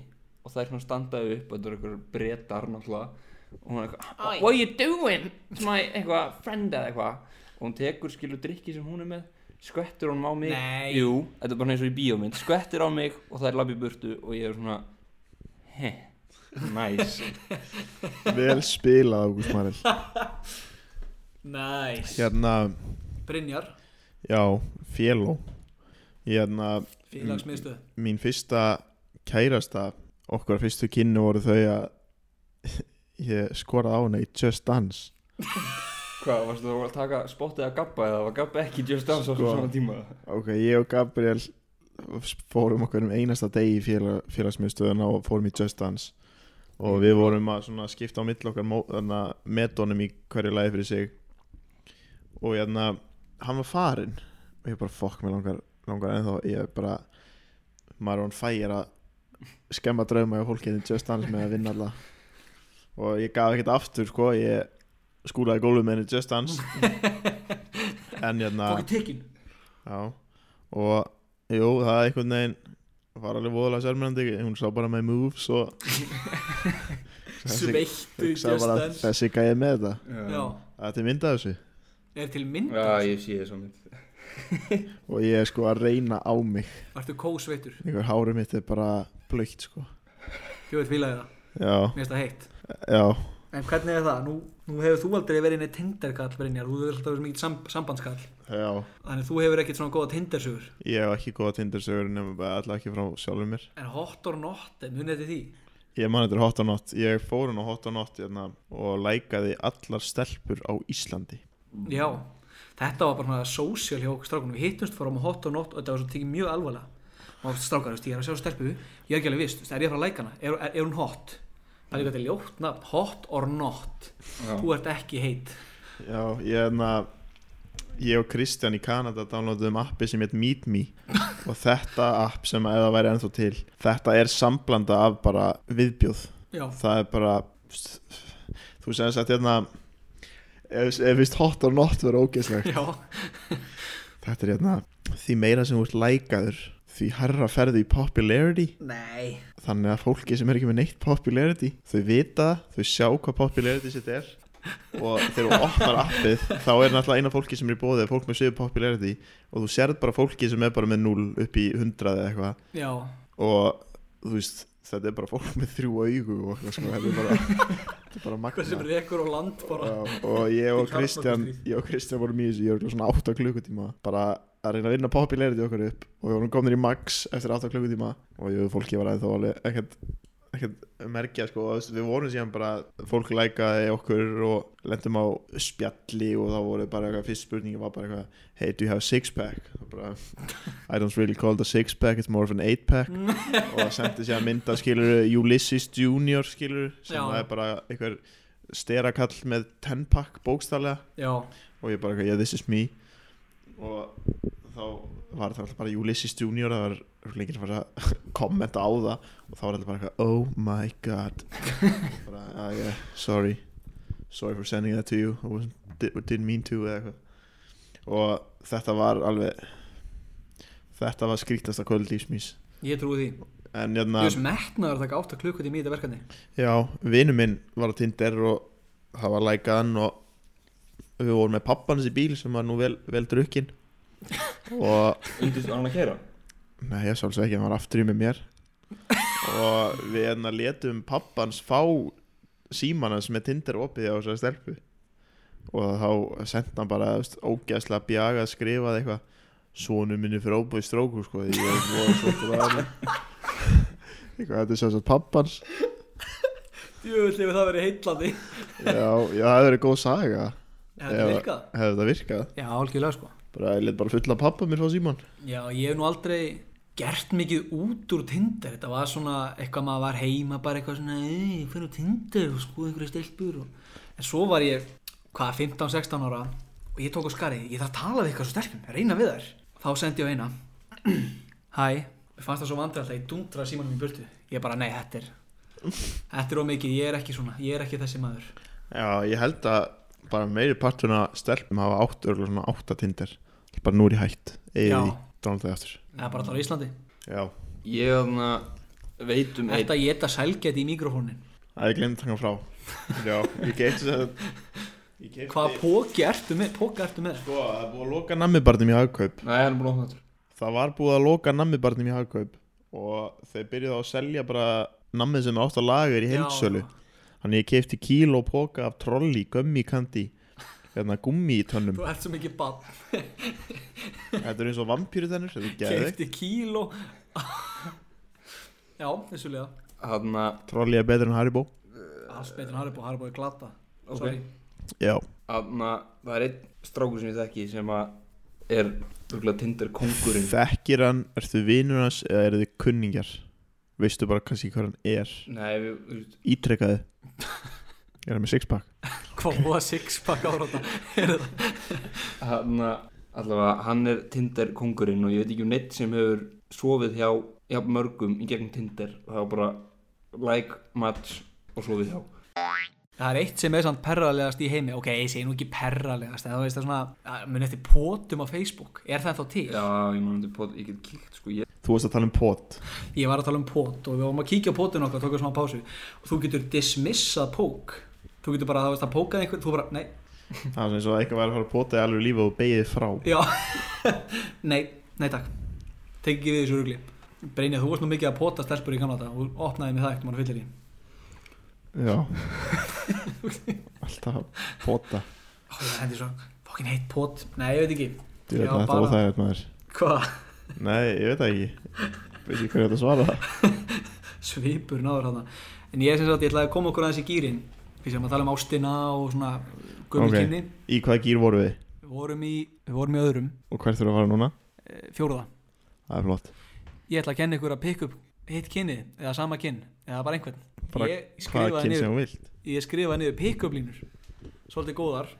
Speaker 3: og það er svona standaði upp og þetta er eitthvað breytar náttúrulega og hún er eitthvað what are you doing svona eitthvað friend eða eitthvað og hún tekur skilur drikki sem hún er með skvettur honum á mig
Speaker 1: Nei.
Speaker 3: jú, þetta er bara eins og í bíómynd skvettur á mig og það er labbi burtu og ég er svona he, næs
Speaker 2: Vel spilað Ágúst Marel
Speaker 1: Næs
Speaker 2: Hérna,
Speaker 1: Brynjar,
Speaker 2: já, féló Hérna,
Speaker 1: félagsmiðstöð
Speaker 2: mín fyrsta kærasta Okkar fyrstu kynnu voru þau að Ég skoraði á hana í Just Dance
Speaker 3: Hvað, varstu þú að taka spottið að gabba eða var gabba ekki Just Dance á
Speaker 2: Sko.
Speaker 3: svona tíma?
Speaker 2: Ok, ég og Gabriel fórum okkur um einasta degi í félag, félagsmiðstöðuna og fórum í Just Dance og við vorum að svona skipta á milli okkar mó- þarna metónum í hverju lagi fyrir sig og hérna hann var farinn og ég bara fokk mig langar, langar ennþá ég bara maður hann fæir að skemma drauma hjá fólkið í Just Dance með að vinna alla og ég gaf ekkert aftur sko ég skúlaði gólfið með henni í Just Dance en hérna
Speaker 1: Fokki tekin
Speaker 2: Já, og jú, það er einhvern veginn var alveg voðalega sérmennandi, hún sá bara með moves og þessi,
Speaker 1: Sveittu
Speaker 2: hugsaði bara,
Speaker 1: gjöstan
Speaker 2: þessi gæði með þetta
Speaker 1: Já,
Speaker 2: þetta er myndað þessu
Speaker 1: er til mynd
Speaker 3: Já, ég sé það mynd
Speaker 2: og ég er sko að reyna á mig
Speaker 1: Vartu kósveittur,
Speaker 2: einhver hárið mitt er bara blöitt sko
Speaker 1: þjóðið fílaði það
Speaker 2: já,
Speaker 1: Mér finnst það heitt
Speaker 2: já,
Speaker 1: En hvernig er það? Nú, nú hefur þú aldrei verið neitt tindarkall Brynjar Þú hefur alltaf verið mikið sam sambandskall
Speaker 2: já
Speaker 1: Þannig þú hefur ekkert svona góða tindarsögur
Speaker 2: ég hef ekki góða tindarsögur nema bara allavega ekki frá sjálfur mér
Speaker 1: En hot or not, eh, munið þetta því
Speaker 2: ég man þetta er hot or not, ég fór hún á hot or not hérna, og lækaði allar stelpur á Íslandi
Speaker 1: Já, þetta var bara svona social hjá okkur strákunum, við hittumst fórum á hot og not og þetta var svona tekið mjög alvarlega og strákar, þú veist, ég er að sjá stelpu, ég er ekki alveg vist, þú veist, er ég að fara að læka hana, er, er, er hún hot? Það er líka til ljótt nafn, hot or not, þú ert ekki heit.
Speaker 2: Já, ég hérna Ég og Kristján í Kanada downloaduðum appi sem heit Meet Me og þetta app sem að það væri ennþá til þetta er samblanda af bara viðbjóð,
Speaker 1: Já,
Speaker 2: það er bara þú sem sagt hérna ef ef vist hot or not verið ógeðslegt
Speaker 1: já,
Speaker 2: þetta er hérna, því meira sem þú ert lækaður því herra ferðu í popularity
Speaker 1: nei,
Speaker 2: þannig að fólki sem er ekki með neitt popularity þau vita, þau sjá hvað popularity sitt er og þegar þú opnar appið þá er náttúrulega eina fólki sem er í bóðið er fólk með 7 popularity og þú sérð bara fólki sem er bara með 0 upp í 100 eða eitthvað
Speaker 1: já,
Speaker 2: og þú veist, þetta er bara fólk með þrjú augu og eitthvað sko, þetta er bara þetta er bara
Speaker 1: hvað sem
Speaker 2: magna
Speaker 1: rekur og land bara.
Speaker 2: og, og ég og
Speaker 1: Í
Speaker 2: Kristján
Speaker 1: kjarnorkustríð.
Speaker 2: ég og Kristján vorum í þessu, ég voru svona 8 klukkutíma bara að reyna að vinna popularity okkur upp og við vorum komin í max eftir 8 klukkutíma og ég fólki var aðeins þá alveg ekkert ekkert merkja sko og við vorum síðan bara fólk lækaði okkur og lendum á spjalli og þá voru bara eitthvað fyrst spurningi var bara eitthvað hey do you have a six pack og bara I don't really call it a six pack it's more of an eight pack og það sendi síðan mynda skilur Ulysses Junior skilur sem
Speaker 1: Já.
Speaker 2: er bara einhver sterakall með 10 pack bókstallega
Speaker 1: Já,
Speaker 2: og ég bara eitthvað, yeah this is me og þá var það alltaf bara Ulysses Junior það var lengir að fara að kommenta á það og þá var alltaf bara eitthvað, oh my god bara, ah yeah, sorry sorry for sending that to you I wasn't, di- didn't mean to eða eitthvað og þetta var alveg þetta var skrítasta kvöld lífsmís
Speaker 1: ég trúi því.
Speaker 2: en hérna- jæna,
Speaker 1: Ég er sem metnaður að taka 8 klukkutími í þetta verkefni
Speaker 2: já, vinur minn var á Tinder og það var lækaðan og við vorum með pappan í bíl sem var nú vel, vel drukkin og
Speaker 3: Undir var hann að kæra?
Speaker 2: Nei, ég svolítið ekki, hann var aftur í með mér Og við hérna letum pappans fá síman hans með Tinder opið á þessari stelpu Og þá sendi hann bara þú veist, ógeðslega bjaga að skrifa eitthvað Sonu minni fyrir óbúið stróku sko Því ég er voða svolítið að hann Eitthvað, þetta er svo svo pappans
Speaker 1: Jöfnli við það verið heitlandi
Speaker 2: Já, já, það hefur verið góð saga
Speaker 1: Hefði
Speaker 2: Já.
Speaker 1: virkað
Speaker 2: Hefði þetta virkað
Speaker 1: Já, algjörlega sko
Speaker 2: Bara, ég let bara fulla pappa mér fá síman
Speaker 1: Já, ég hef nú aldrei gert mikið út úr Tinder Þetta var svona eitthvað maður var heima bara eitthvað svona Ei, ég fyrir á Tinder og skoði einhverja stelpur og... En svo var ég, hvað, 15-16 ára og ég tók á skarið, ég þarf að tala við eitthvað svo stelpum, reyna við þær Þá sendi ég á eina Hæ, mér fannst það svo vandræðilegt að ég dundra símanum í burtu Ég bara, nei, þetta er Þetta er ómikið, ég er ekki svona, ég er ekki þessi maður
Speaker 2: Já, ég held að bara meiri partuna stelpum hafa átt örgulega svona átta tindir bara nú er ég hætt, eigið
Speaker 1: Já.
Speaker 2: því dánaldið aftur
Speaker 1: Eða bara allar á Íslandi
Speaker 2: Já,
Speaker 3: Ég þarna veit um einn
Speaker 1: Þetta ég þetta sælgæti í mikrofónin
Speaker 2: að ég glemt þangar frá Já, ég geti þess að ég geti
Speaker 1: Hvaða póki ertu með, póka ertu með?
Speaker 2: Sko, það er búið að loka nammibarnum í hagkaup
Speaker 3: Nei, hann er búin að opna þetta
Speaker 2: Það var búið að loka nammibarnum í hagkaup og þeir byrjuðu á að selja bara nammið sem er átt að lager í heilsölu
Speaker 1: Já.
Speaker 2: Þannig ég kefti kíl og póka af trolli, gummi kandi hérna gummi í tönnum
Speaker 1: Þú ert svo mikið bann,
Speaker 2: Þetta er eins og vampýru tennur, þetta er geðveikt
Speaker 1: keifti kíló Já, vissulega
Speaker 3: Þarna,
Speaker 2: Trolli er betur en Haribo
Speaker 1: Allt betur en Haribo, Haribo er glata
Speaker 3: ok
Speaker 1: Sorry.
Speaker 2: Já
Speaker 3: Þarna, það er einn strákur sem ég þekki sem að er örgulega Tinder kongurinn
Speaker 2: Þekkir hann, ertu vinur hans eða eru þið kunningjar? Veistu bara kannski hvað hann er?
Speaker 3: Nei, við, við,
Speaker 2: Ítrekkaði Er hann með sixpack?
Speaker 1: Hvað búið að sixpack ára þetta
Speaker 3: þarna allavega, hann er Tinder kongurinn og ég veit ekki um neitt sem hefur sofið hjá, hjá mörgum í gegnum Tinder það var bara like, match og sofið hjá
Speaker 1: Það er eitt sem er samt perralegast í heimi Ok, ég segi nú ekki perralegast en Það veist það svona, að mun eftir pótum á Facebook Er það þá til?
Speaker 3: Já, ég man þetta pot, ég get kíkt sko ég,
Speaker 2: Þú varst að tala um pot
Speaker 1: Ég var að tala um pót og við varum að kíkja á pótun okkar Tókum smá pásu Og þú getur dismissað pók Þú getur bara, það veist það pókað einhvern Þú bara, nei,
Speaker 2: Það var eins og að eitthvað væri að fara að pota í alveg lífi og beigðið frá
Speaker 1: Já, nei, nei takk Tek ekki við þessu rugli Brynja, þú varst nú mikið að pota stelpur í gamla þetta og opnaði mig það ekkert mann fyllir í
Speaker 2: Já Alltaf að pota
Speaker 1: Ó, ég hendi svo, fokkin heitt pot Nei, ég veit ekki
Speaker 2: Þú veit
Speaker 1: Já,
Speaker 2: að þetta
Speaker 1: bara-
Speaker 2: er óþægilegt maður
Speaker 1: Hvað,
Speaker 2: Nei, ég veit það ekki Veit ekki hverju þetta svara það
Speaker 1: svipur náður þarna En ég sem sagt, ég ætlaði að koma okkur aðeins í gýrin Við sem að tala um ástina og svona gömul
Speaker 2: Ok.
Speaker 1: kynni
Speaker 2: Í hvaða gýr voru við?
Speaker 1: Við vorum í, við vorum í öðrum,
Speaker 2: Og hvert þurfum við að fara núna?
Speaker 1: eh, fjórða
Speaker 2: Það er flott
Speaker 1: Ég ætla að kenna ykkur að pikka upp hitt kynni eða sama kynn, eða bara einhvern
Speaker 2: Bara
Speaker 1: Ég
Speaker 2: Hvaða
Speaker 1: skrifaði
Speaker 2: kyn
Speaker 1: niður,
Speaker 2: sem þú vilt
Speaker 1: ég skrifaði niður pikka upp línur Svolítið góðar,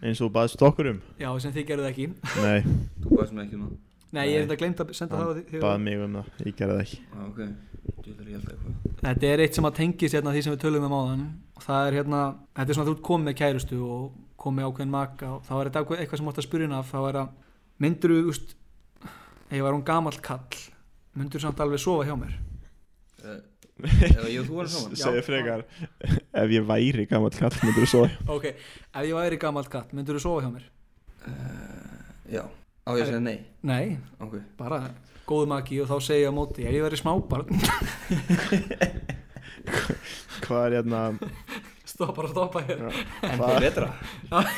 Speaker 2: Eins og þú baðst okkur um
Speaker 1: já sem þið gerðu það ekki
Speaker 2: Nei,
Speaker 3: þú bæðist mig ekki um það
Speaker 1: Nei, ég er þetta glemt að senda það á þig
Speaker 2: baði mig um það Ég gerði það ekki
Speaker 3: Já, ok, þú ætlar ég held eitthvað
Speaker 1: Þetta er eitt sem að tengist hérna því sem við tölum um áðan og það er hérna, þetta er svona að þú ert komið með kærustu og komið með ákveðin maka og þá er þetta ákveð- eitthvað sem átt að spyrja hana af þá er að myndur þú, úst ef ég var hún gamall kall myndur þú samt alveg sofa hjá mér
Speaker 3: Eh, Ef ég og þú varum saman
Speaker 1: Já.
Speaker 2: segja frekar ef ég væri gammal kall myndur þú svo
Speaker 1: Ok, ef ég væri gamall kall, myndur þú sofa hjá mér
Speaker 3: Já, á ég að segja nei
Speaker 1: Nei,
Speaker 3: Ok,
Speaker 1: bara góðu maki og þá segi ég á móti ef ég væri smábarn,
Speaker 2: hvað er hérna
Speaker 1: stoppa og stoppa hér
Speaker 3: en
Speaker 2: Hvað?
Speaker 3: það er betra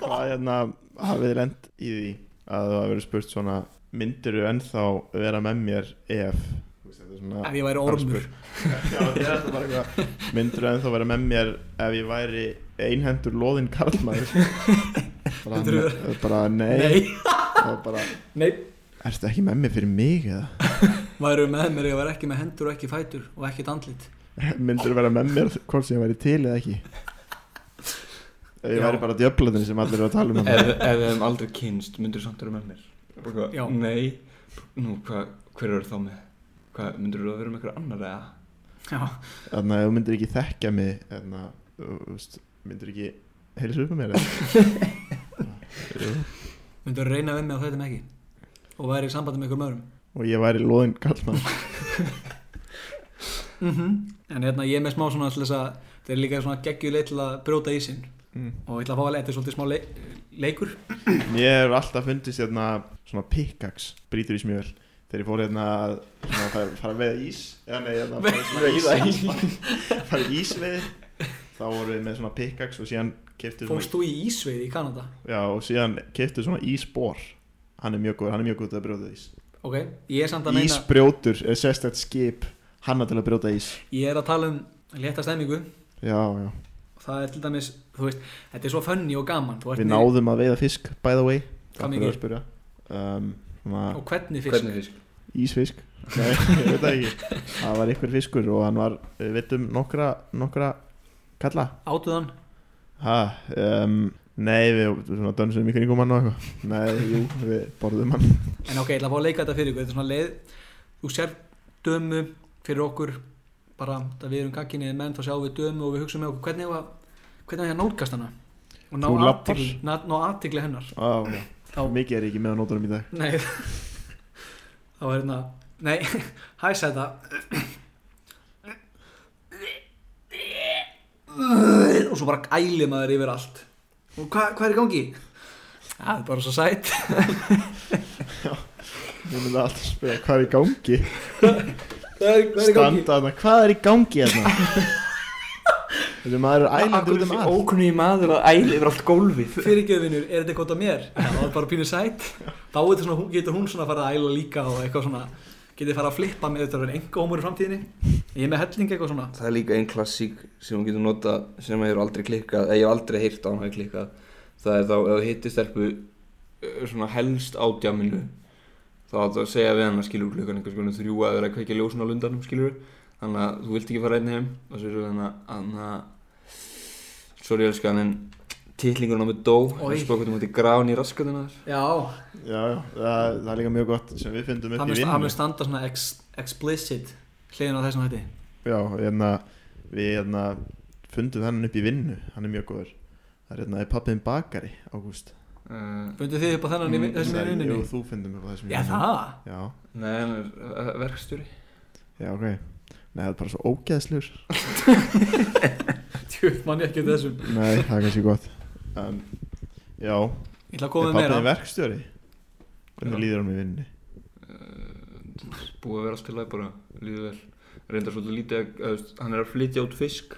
Speaker 2: hvað er hérna hafið þið lent í því að það hafi verið spurt svona myndur þú ennþá vera með mér ef Þú veist, þetta er svona-
Speaker 1: ef ég væri
Speaker 2: bara
Speaker 1: ormur
Speaker 2: Já, þetta er alltaf bara eitthvað. myndur þú ennþá vera með mér ef ég væri einhendur loðinn karlmaður bara,
Speaker 1: Myndirðu-
Speaker 2: bara nei,
Speaker 1: Nei,
Speaker 2: Og bara,
Speaker 1: nei
Speaker 2: ertu ekki með mér fyrir mig eða
Speaker 1: væru með mér, ég væri ekki með hendur og ekki fætur og ekkit andlit
Speaker 2: myndur þú vera með mér hvort sem ég væri til eða ekki ef ég
Speaker 1: Já.
Speaker 2: væri bara djöflandin sem allir eru að tala um
Speaker 3: ef,
Speaker 2: hann
Speaker 3: ef við hefum aldrei kynst, myndur þú samt vera með mér? Bara eitthvað,
Speaker 1: Já.
Speaker 3: Nei, nú, hva, hver eru þá með? Hvað, myndur þú að vera með einhver annar eða?
Speaker 1: Já,
Speaker 2: þannig að þú myndir ekki þekkja mig þannig að myndir ekki heilsa upp á mér eða? Jú.
Speaker 1: myndur reyna við mig á þetta með ekki og væri í sambandi með einhverjum öðrum
Speaker 2: og ég væri loðinn kallmann Mhm.
Speaker 1: En hérna ég er með smá svona til þess að þetta er líka svona geggjuleið til að brjóta ísinn
Speaker 2: Mm.
Speaker 1: og ég ætla að fá að leta svolítið smá leik, leikur
Speaker 2: Mér hefur alltaf fundist hérna svona pickaxe brýtur í smjöl þegar ég fór hérna að svona, fara, fara með ís eða nei, hérna fara svona ís fara í ísveið þá vorum við með svona pickaxe og síðan keftu svona,
Speaker 1: Fórst þú í Ísveið í Kanada
Speaker 2: já, og síðan keftu svona ísbor hann er mjög góður, hann er mjög góður til að brjóta ís
Speaker 1: Ok, ég er samt að meina
Speaker 2: Ísbrjótur er sérstætt skip hanna til að brjóta ís
Speaker 1: Ég er að tala um létta stemmingu
Speaker 2: já, já,
Speaker 1: og það er til dæmis, þú veist, þetta er svo fönni og gaman Þú ert
Speaker 2: við
Speaker 1: með-
Speaker 2: náðum að veiða fisk by the way,
Speaker 1: Hvað
Speaker 2: Takk fyrir
Speaker 1: mikið?
Speaker 2: að spyrja. um, svona,
Speaker 1: Og hvernig fisk
Speaker 3: Hvernig fisk?
Speaker 2: Ísfisk Nei, ég veit það ekki Það var ykkur fiskur og hann var við veitum nokkra, nokkra kalla
Speaker 1: Átuðan
Speaker 2: ha, um, Nei, við, við svona dönsum í kringum hann og eitthvað Nei, jú, við borðum hann
Speaker 1: En ok, ég ætla að fá að leika þetta fyrir ykkur Þetta er svona leið Þú sér dömu fyrir okkur bara það við erum kakkinni menn þá sjáum við dömu og við hugsaum með okkur hvernig var hvernig var ég að nálgast hana og ná
Speaker 2: Þú labbar.
Speaker 1: athygli- ná- ná aðtigli hennar
Speaker 2: Á, já.
Speaker 1: þá,
Speaker 2: Mikið er ég ekki með á nótunum í dag
Speaker 1: nei þá er hérna nei, hæ sæta og svo bara æli maður yfir allt og hva, hvað er í gangi? það er bara svo sætt
Speaker 2: Ég myndi alltaf spyrja hvað er í gangi
Speaker 1: hvað er, hvað
Speaker 2: Standa þarna, hvað er í gangi hérna Þessi maður er ælandi út um allt
Speaker 3: Ókunni maður að æli yfir allt gólfið
Speaker 1: fyrirgjöfinur, er þetta gott á mér? Já, það var bara pínu sætt þá er þetta svona, getur hún svona að fara að æla líka og eitthvað svona, getur fara að flippa með þetta að vera enga hómur í framtíðinni ég er með helling eitthvað svona
Speaker 3: Það er líka einn klassík sem hún getur nota sem hefur aldrei klikkað, eða ég hef aldrei heyrt á hann hafi klikkað það er þá ef þú hittir stelpu ö, svona helst á djáminu þá átt að segja við hann að skilur klukkan einhvers konar þrjú að vera að kveikja ljósun á lundanum skilur þannig að þú vilt ekki fara einn heim og svo er það hann að sorry elskan en titlingurinn á mig dó
Speaker 1: Oj.
Speaker 3: og spókutum út um í grán í raskatina
Speaker 1: já,
Speaker 2: Já, já, það, það er líka mjög gott sem við fundum upp
Speaker 1: hann
Speaker 2: í
Speaker 1: mun-
Speaker 2: vinnu
Speaker 1: hann mun standa svona ex, explicit hliðin á þessum hætti
Speaker 2: Já, hérna, við hérna, fundum hennan upp í vinnu, hann er mjög góður. Það er hérna, er pappiðin bakari, Ágúst?
Speaker 3: uh,
Speaker 1: fundu þið upp á þennan mm,
Speaker 3: Mm,
Speaker 1: þessum
Speaker 2: Nei,
Speaker 1: í
Speaker 2: Jú,
Speaker 1: vinninni?
Speaker 2: þú fundum upp á þessum í
Speaker 1: já
Speaker 2: vinnunni.
Speaker 1: það,
Speaker 2: Já,
Speaker 3: Nei, hann er eh, ö, verkstjóri
Speaker 2: já, ok. Nei, það er bara svo ógeðslegur.
Speaker 1: tjú, mann ég ekki eftir þessum
Speaker 2: Nei, það er kannski gott. Um, já,
Speaker 1: ég ætla að
Speaker 2: er
Speaker 1: koma með
Speaker 2: pappiðin
Speaker 1: meira
Speaker 2: verkstjóri? Hvernig
Speaker 3: Já.
Speaker 2: líður hann í vinnunni?
Speaker 3: Eh, búið að vera allt til að bara líður vel reyndar svolítið lítið að, að þú veist, hann er að flytja út fisk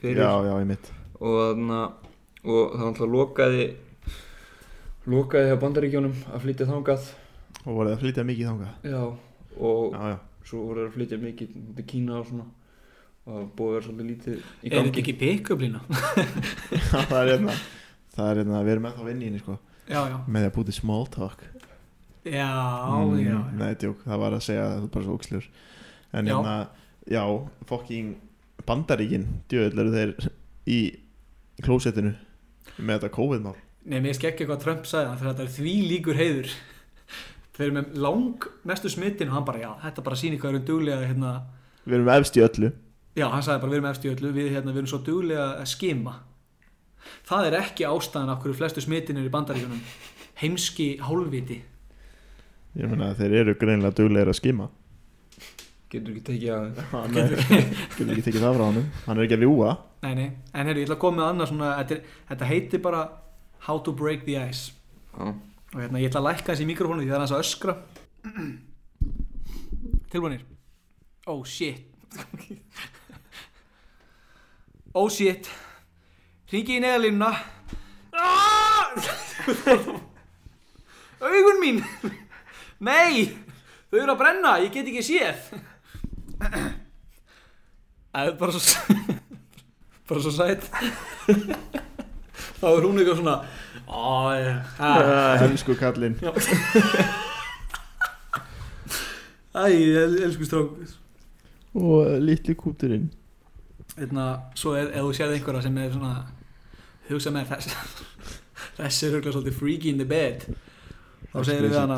Speaker 3: fyrir
Speaker 2: Já, já, ég mitt.
Speaker 3: og þannig að og það alltaf lokaði lokaði hjá bandaríkjónum að flytja þangað
Speaker 2: Og voruð það að flytja mikið þangað?
Speaker 3: já og
Speaker 2: Já, já.
Speaker 3: svo voru þeir að flytja mikið til Kína og svona og það var búið að vera svolítið lítið í
Speaker 1: er þetta
Speaker 3: gangi
Speaker 1: ekki pick-up-lína?
Speaker 2: það er hérna, það er hérna, við erum ennþá vinn í henni, sko.
Speaker 1: já, já,
Speaker 2: Með því að búti small talk.
Speaker 1: já,
Speaker 2: Mm,
Speaker 1: já, já.
Speaker 2: Nei, djók, það var að segja að það er bara svo ókslur En
Speaker 1: Já.
Speaker 2: hérna, já, fokking bandaríkin Djöðl eru þeir í klósettinu með þetta COVID-mál
Speaker 1: Nei, mér skekki hvað Trump sagði hann fyrir þetta er því líkur heiður Þeir eru með lang mestu smittin og hann bara, já, þetta bara sýnir hvað við erum duglega hérna,
Speaker 2: Við erum efst í öllu
Speaker 1: já, hann sagði bara við erum efst í öllu við, hérna, við erum svo duglega að skima Það er ekki ástæðan af hverju flestu smittin er í bandaríkunum heimski hálfviti
Speaker 2: Ég meina að þeir eru greinilega duglegir að skima
Speaker 3: getur ekki tekið að þeim.
Speaker 2: Getur ekki tekið það frá honum Hann er ekki að ljúga
Speaker 1: Nei, nei, en heyrðu, ég ætla að koma með annað svona þetta, er, þetta heitir bara How to break the ice
Speaker 3: Já.
Speaker 1: og hérna, ég ætla að lækka þessi mikrofónu því það er hans að öskra Tilbúinir Oh shit Oh shit Ringi í neðalínuna Ah! Augun mín Nei Þau eru að brenna, ég get ekki séð Það er bara svo bara svo sætt þá er hún eitthvað svona "Á, ég- ha."
Speaker 2: Hensku kallinn
Speaker 1: Æ, ég elsku strák
Speaker 2: Og litli kúturinn
Speaker 1: Þannig að Hérna, svo er, ef þú sérð einhverja sem er svona hugsa með þess þessi er hugla svolítið freaky in the bed þá segir við hana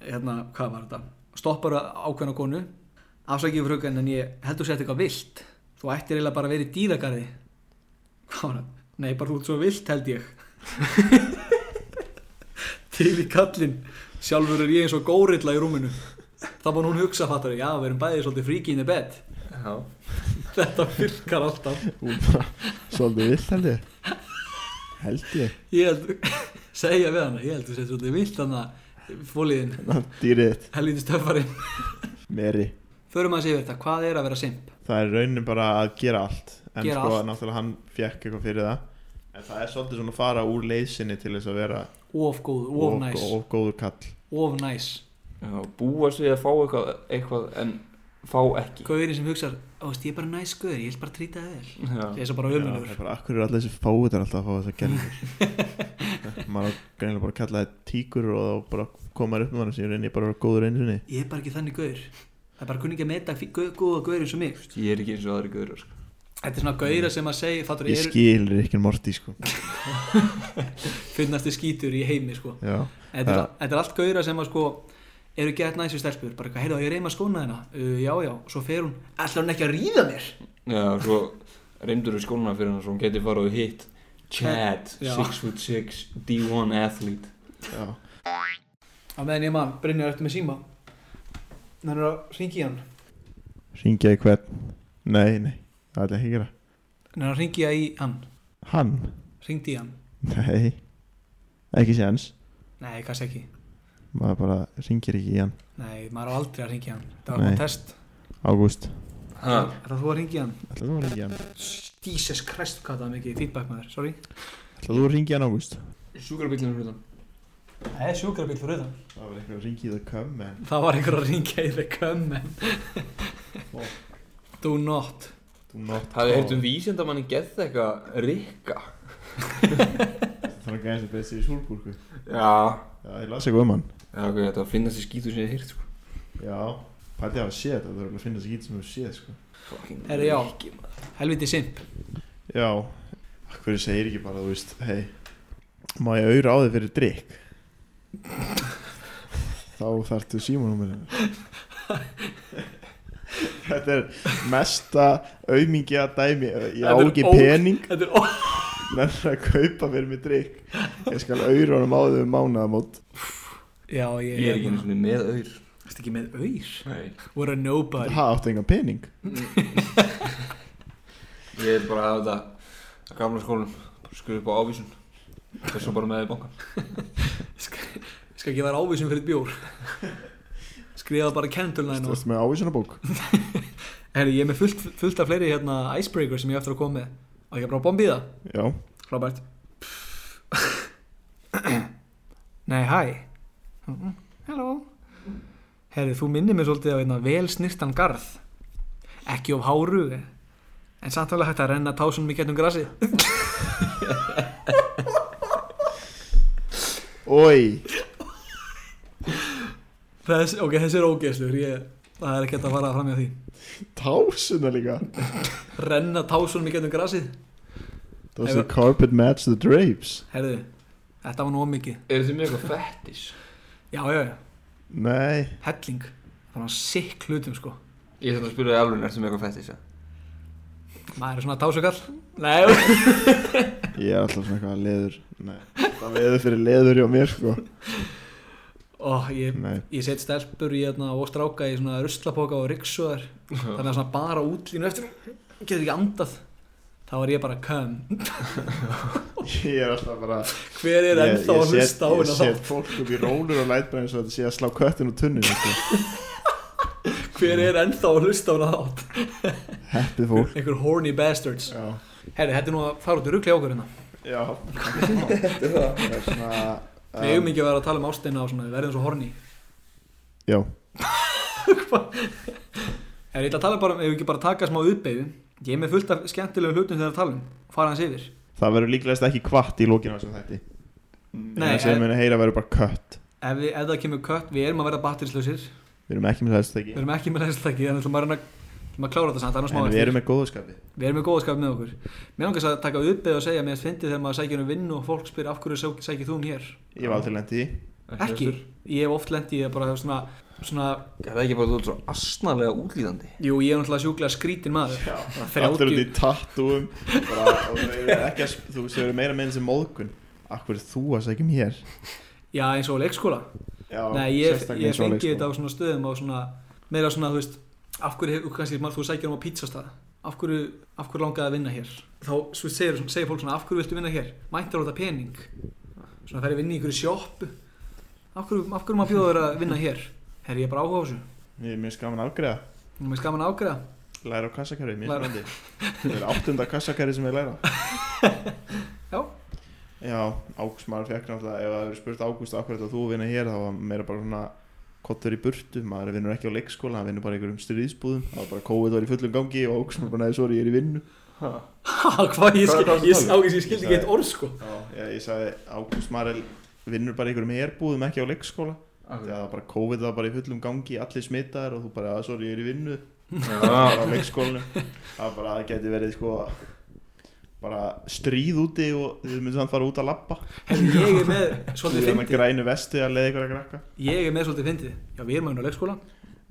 Speaker 1: hérna, hvað var þetta, stoppar ákveðna konu afsakið frugan en ég heldur sér eitthvað vilt þú ættir eiginlega bara að vera í dýragarði hvað var það, nei bara þú ert svo vilt held ég til í kallinn sjálfur er ég eins og górilla í rúminu þá má hún hugsa fattur já, við erum bæðið svolítið freaky in the bed
Speaker 3: Já,
Speaker 1: þetta virkar alltaf
Speaker 2: Hún bara svolítið vill held ég Held ég
Speaker 1: ég held, segja við hana, ég held þú sér svolítið vilt hana fóliðin,
Speaker 2: Ná, Dýrið þitt,
Speaker 1: helvítið stöffarinn
Speaker 2: Meri
Speaker 1: förum að segja þetta, hvað er að vera simp?
Speaker 2: Það er raunin bara að gera allt En
Speaker 1: Gera
Speaker 2: sko
Speaker 1: allt.
Speaker 2: náttúrulega hann fekk eitthvað fyrir það En það er svolítið svona að fara úr leysinni til þess að vera
Speaker 1: of góð, of næs,
Speaker 2: og, og góður kall
Speaker 1: of næs
Speaker 3: já búast við að fá eitthvað, eitthvað en fá ekki
Speaker 1: gauðin sem hugsar, "Ó, veist, ég er bara næs gauður ég vil bara trýta það vel, ég
Speaker 3: Já,
Speaker 1: er svo bara
Speaker 2: Já, það
Speaker 1: ömulegur
Speaker 2: er bara, akkur eru allir þessi fáið alltaf að fá þess að gera maður á greinilega bara að kalla það tíkur og þá bara koma maður upp með hann sem ég reyni bara að vera góður einu sinni
Speaker 1: ég er bara ekki þannig gauður það er bara kunningi að meta fí- gau- góða gauður eins og mig
Speaker 3: ég er ekki eins og aðri gauður sko.
Speaker 1: þetta er svona gauðra sem að segja fattur
Speaker 2: ég
Speaker 1: eru
Speaker 2: skil Rick and Morty sko
Speaker 1: finnast skítur í heimi sko.
Speaker 2: já,
Speaker 1: þetta,
Speaker 2: Já.
Speaker 1: er, þetta er allt gauðra sem að sko eru gett næs við stelpur, bara eitthvað, heyrðu á ég reyma skóna þeirna uh, já, já, og svo fer hún ætlar hún ekki að ríða mér
Speaker 3: Já, svo reymdur við skóluna fyrir hann svo hún geti farið og hitt Chad,
Speaker 1: Já.
Speaker 3: 6'6 D1 athlete
Speaker 2: já.
Speaker 1: á meðan ég mann, Brynjar eftir með síma hann er að ringi hann
Speaker 2: ringja í hvern nei, nei, það ætla ég ekki að gera
Speaker 1: hann er að ringi í hann,
Speaker 2: hann,
Speaker 1: ringdi í hann
Speaker 2: nei ekki séns,
Speaker 1: nei, kannski ekki,
Speaker 2: maður bara ringir ekki í hann
Speaker 1: nei, maður á aldrei að ringi hann það var
Speaker 2: Nei.
Speaker 1: bara test,
Speaker 2: Ágúst,
Speaker 3: Ha,
Speaker 1: er það þú að ringi hann
Speaker 2: ætla þú að ringja hann
Speaker 1: Jesus Christ, hvað það var mikið feedback maður, sorry
Speaker 2: ætla þú að ringja hann Ágúst
Speaker 3: sjúkrabílinn fyrir hann
Speaker 1: það er sjúkrabíl fyrir utan
Speaker 2: það var eitthvað að ringja í það come man
Speaker 1: það var einhver að ringja í the comment do not
Speaker 2: do
Speaker 3: Hafið
Speaker 2: not call.
Speaker 3: heirt um vísindamanni gett eitthvað Rikka
Speaker 2: það var gæðin sem beðið sér í súlbúrku
Speaker 3: Já,
Speaker 2: já, ég las eitthvað um hann
Speaker 3: Já, ok, þetta var finnast í skítu sem ég heirt sko.
Speaker 2: Já, pæti að hafa séð þetta, það er alveg að finna þessi gít sem hefur séð sko.
Speaker 3: Fucking
Speaker 1: Herra, já.
Speaker 3: Rikki, maður.
Speaker 1: helviti simp
Speaker 2: Já, hverju segir ekki bara, þú veist, hei, má ég auðra á þig fyrir drikk? Þá þarftu símanúmerinu. þetta er mesta auðmingja dæmi, ég á
Speaker 1: Þetta er
Speaker 2: ekki
Speaker 1: óg-
Speaker 2: pening,
Speaker 1: þetta er ó-
Speaker 2: menn að kaupa fyrir mig drikk. Ég skal auðra honum á þig um mánaðamót.
Speaker 1: já, ég,
Speaker 3: Ég er ekki einu sinni með auður
Speaker 1: Ertu ekki með auður
Speaker 3: Nei
Speaker 1: What a nobody
Speaker 2: Það áttu engan pening.
Speaker 3: Ég er bara að hafa þetta að gamla skólum bara skrifa upp á ávísun Þessu bara með í bankan
Speaker 1: Sk- Skal ekki vera ávísum fyrir bjór Skrifa bara kentulnæðin
Speaker 2: Þú
Speaker 1: og...
Speaker 2: veist með ávísunabók.
Speaker 1: Herri, ég er með fullt, fullt af fleiri hérna icebreaker sem ég á eftir að koma með Og ég er bara að bombi það
Speaker 2: Já,
Speaker 1: Robert Nei, hæ Mm, Hello Herri, þú minnir mér svolítið á einna vel snirtan garð Ekki of háru eh? En samt alveg hægt að renna tásunum í getum grasið
Speaker 2: oi,
Speaker 1: Þess, ok, þessi er ógeðslur, ég, það er ekki hægt að fara fram hjá því.
Speaker 2: tásuna líka.
Speaker 1: Renna tásunum í getum grasið.
Speaker 2: Does the carpet match the drapes?
Speaker 1: Herðu, þetta var nú ómikið.
Speaker 3: Er þið með eitthvað fettis?
Speaker 1: Já, já, já,
Speaker 2: Nei,
Speaker 1: helling. Það var sikk hlutum, sko.
Speaker 3: Ég þarf að spyrja þið alveg, er þið með eitthvað fettis?
Speaker 1: Maður er svona tásukall. Nei,
Speaker 2: ég er alltaf svona eitthvað leður Nei, það veður fyrir leður hjá mér sko
Speaker 1: og ég,
Speaker 2: Nei,
Speaker 1: ég set stelpur í, hérna, og stráka í svona ruslapoka og riksuðar. Þannig að svona bara útlínu eftir, getur ekki andað. Þá er ég bara, come.
Speaker 2: ég er alltaf bara
Speaker 1: Hver er
Speaker 2: Ég-
Speaker 1: ennþá
Speaker 2: ég
Speaker 1: að
Speaker 2: set-
Speaker 1: hlusta á
Speaker 2: Ég
Speaker 1: hérna
Speaker 2: set
Speaker 1: þá?
Speaker 2: fólk upp í rólur og lætbræðin svo þetta sé að slá köttin úr tunnin sko.
Speaker 1: Hver er ennþá að hlusta á hérna þá?
Speaker 2: Heppið fólk
Speaker 1: Einhver horny bastards.
Speaker 2: Já,
Speaker 1: Herri, þetta er nú að fara út í rugli okkur hérna.
Speaker 2: já Þetta er það. Það er svona
Speaker 1: Við eigum ekki að vera að tala um ástina og svona, við verðum svo horni.
Speaker 2: Já,
Speaker 1: Er ég ætla að tala bara um, ef við ekki bara taka smá uppeyðu, ég er með fullt af skemmtilegum hlutum þegar að tala um, fara hans yfir.
Speaker 2: það verður líklegast ekki kvart í lókinu á þessum þætti
Speaker 1: Nei,
Speaker 2: Það sem
Speaker 1: en-
Speaker 2: muni heyra verður bara kött
Speaker 1: Ef, við, ef það kemur kött, við erum að verða batterislausir,
Speaker 2: Við erum ekki með þessu þætti
Speaker 1: við erum ekki með leðslæki, þannig að maður er að, ætlum að klára þetta samt, það er nú smá
Speaker 2: En við
Speaker 1: eftir.
Speaker 2: erum með góðskapi
Speaker 1: Við erum með góðskap með okkur. Mér langast að taka uppeyðu og segja, mér finnst fyndið þegar maður sækir um vinnu og fólk spyr af hverju sæ- sækir þú um hér.
Speaker 2: Ég var aldrei lent í því.
Speaker 1: Ekki, ég hef oft lendið í að bara svona, svona,
Speaker 3: Það er ekki bara þú ert svo asnalega útlýðandi
Speaker 1: jú, ég er náttúrulega sjúklega skrítin maður. Bara
Speaker 2: Allir út í
Speaker 1: 30
Speaker 2: tattúum bara, og þau eru ekki að, um þú veist, þau eru meira meina sem móðgun Akkur þú að sækja mér
Speaker 1: Já, eins og á leikskóla
Speaker 2: Já,
Speaker 1: Nei, ég,
Speaker 2: sérstaklega
Speaker 1: ég
Speaker 2: eins og
Speaker 1: fengi
Speaker 2: leik,
Speaker 1: þetta á svona stöðum á svona, meira svona, þú veist, af hverju, hefur- kannski, maður, þú sækir um á pizzastað, af hverju, af hverju langaði að vinna hér? Þá svo segir, segir fólk svona, af hverju viltu vinna hér? Mæntar á þetta pening? Svona fer ég vinna í einhverju sjoppu? Af hverju, af hverju maður bjóður að vinna hér? Herri, ég er bara áhuga á þessu.
Speaker 2: Ég er mjög skaman afgreða
Speaker 1: Nú er mér skaman að ágreða.
Speaker 2: Læra á kassakerfi, mér
Speaker 1: Læra.
Speaker 2: er frændi Það er áttunda kassakerfi sem ég læra
Speaker 1: Já.
Speaker 2: Já, Ágúst maður fekk náttúrulega Ef það hefur spurt Ágúst af hverju þetta þú að vinna hér Þá var meira bara svona kottur í burtu Maður vinnur ekki á leikskóla, hann vinnur bara í einhverjum stríðsbúðum Það var bara kóið var í fullum gangi Og Ágúst maður bara neði, sorry, ég er í vinnu
Speaker 1: Ha, hvað, ég, skil,
Speaker 3: Hvað- hvað ertu að
Speaker 1: ég,
Speaker 3: tala
Speaker 1: sá ekki, ég skildi ekki eitt orð, sko.
Speaker 2: Já, ég sagði Ágúst maður vinnur bara í einhverjum herbúðum Ekki á leikskóla
Speaker 3: Já,
Speaker 2: Já, það var bara COVID var bara í fullum gangi, allir smitaðir og þú bara, "Ah, sorry, ég er í vinnu
Speaker 3: já,
Speaker 2: á leikskólunum það var bara, það geti verið sko bara stríð úti og þið myndir samt fara út að labba
Speaker 1: Herri, ég er með,
Speaker 2: Þú
Speaker 1: svolítið
Speaker 2: er með
Speaker 1: fyndið,
Speaker 2: grænu vesti að leiða ykkur að krakka
Speaker 1: ég er með svolítið fyndið. Já, við erum að vinna á leikskóla.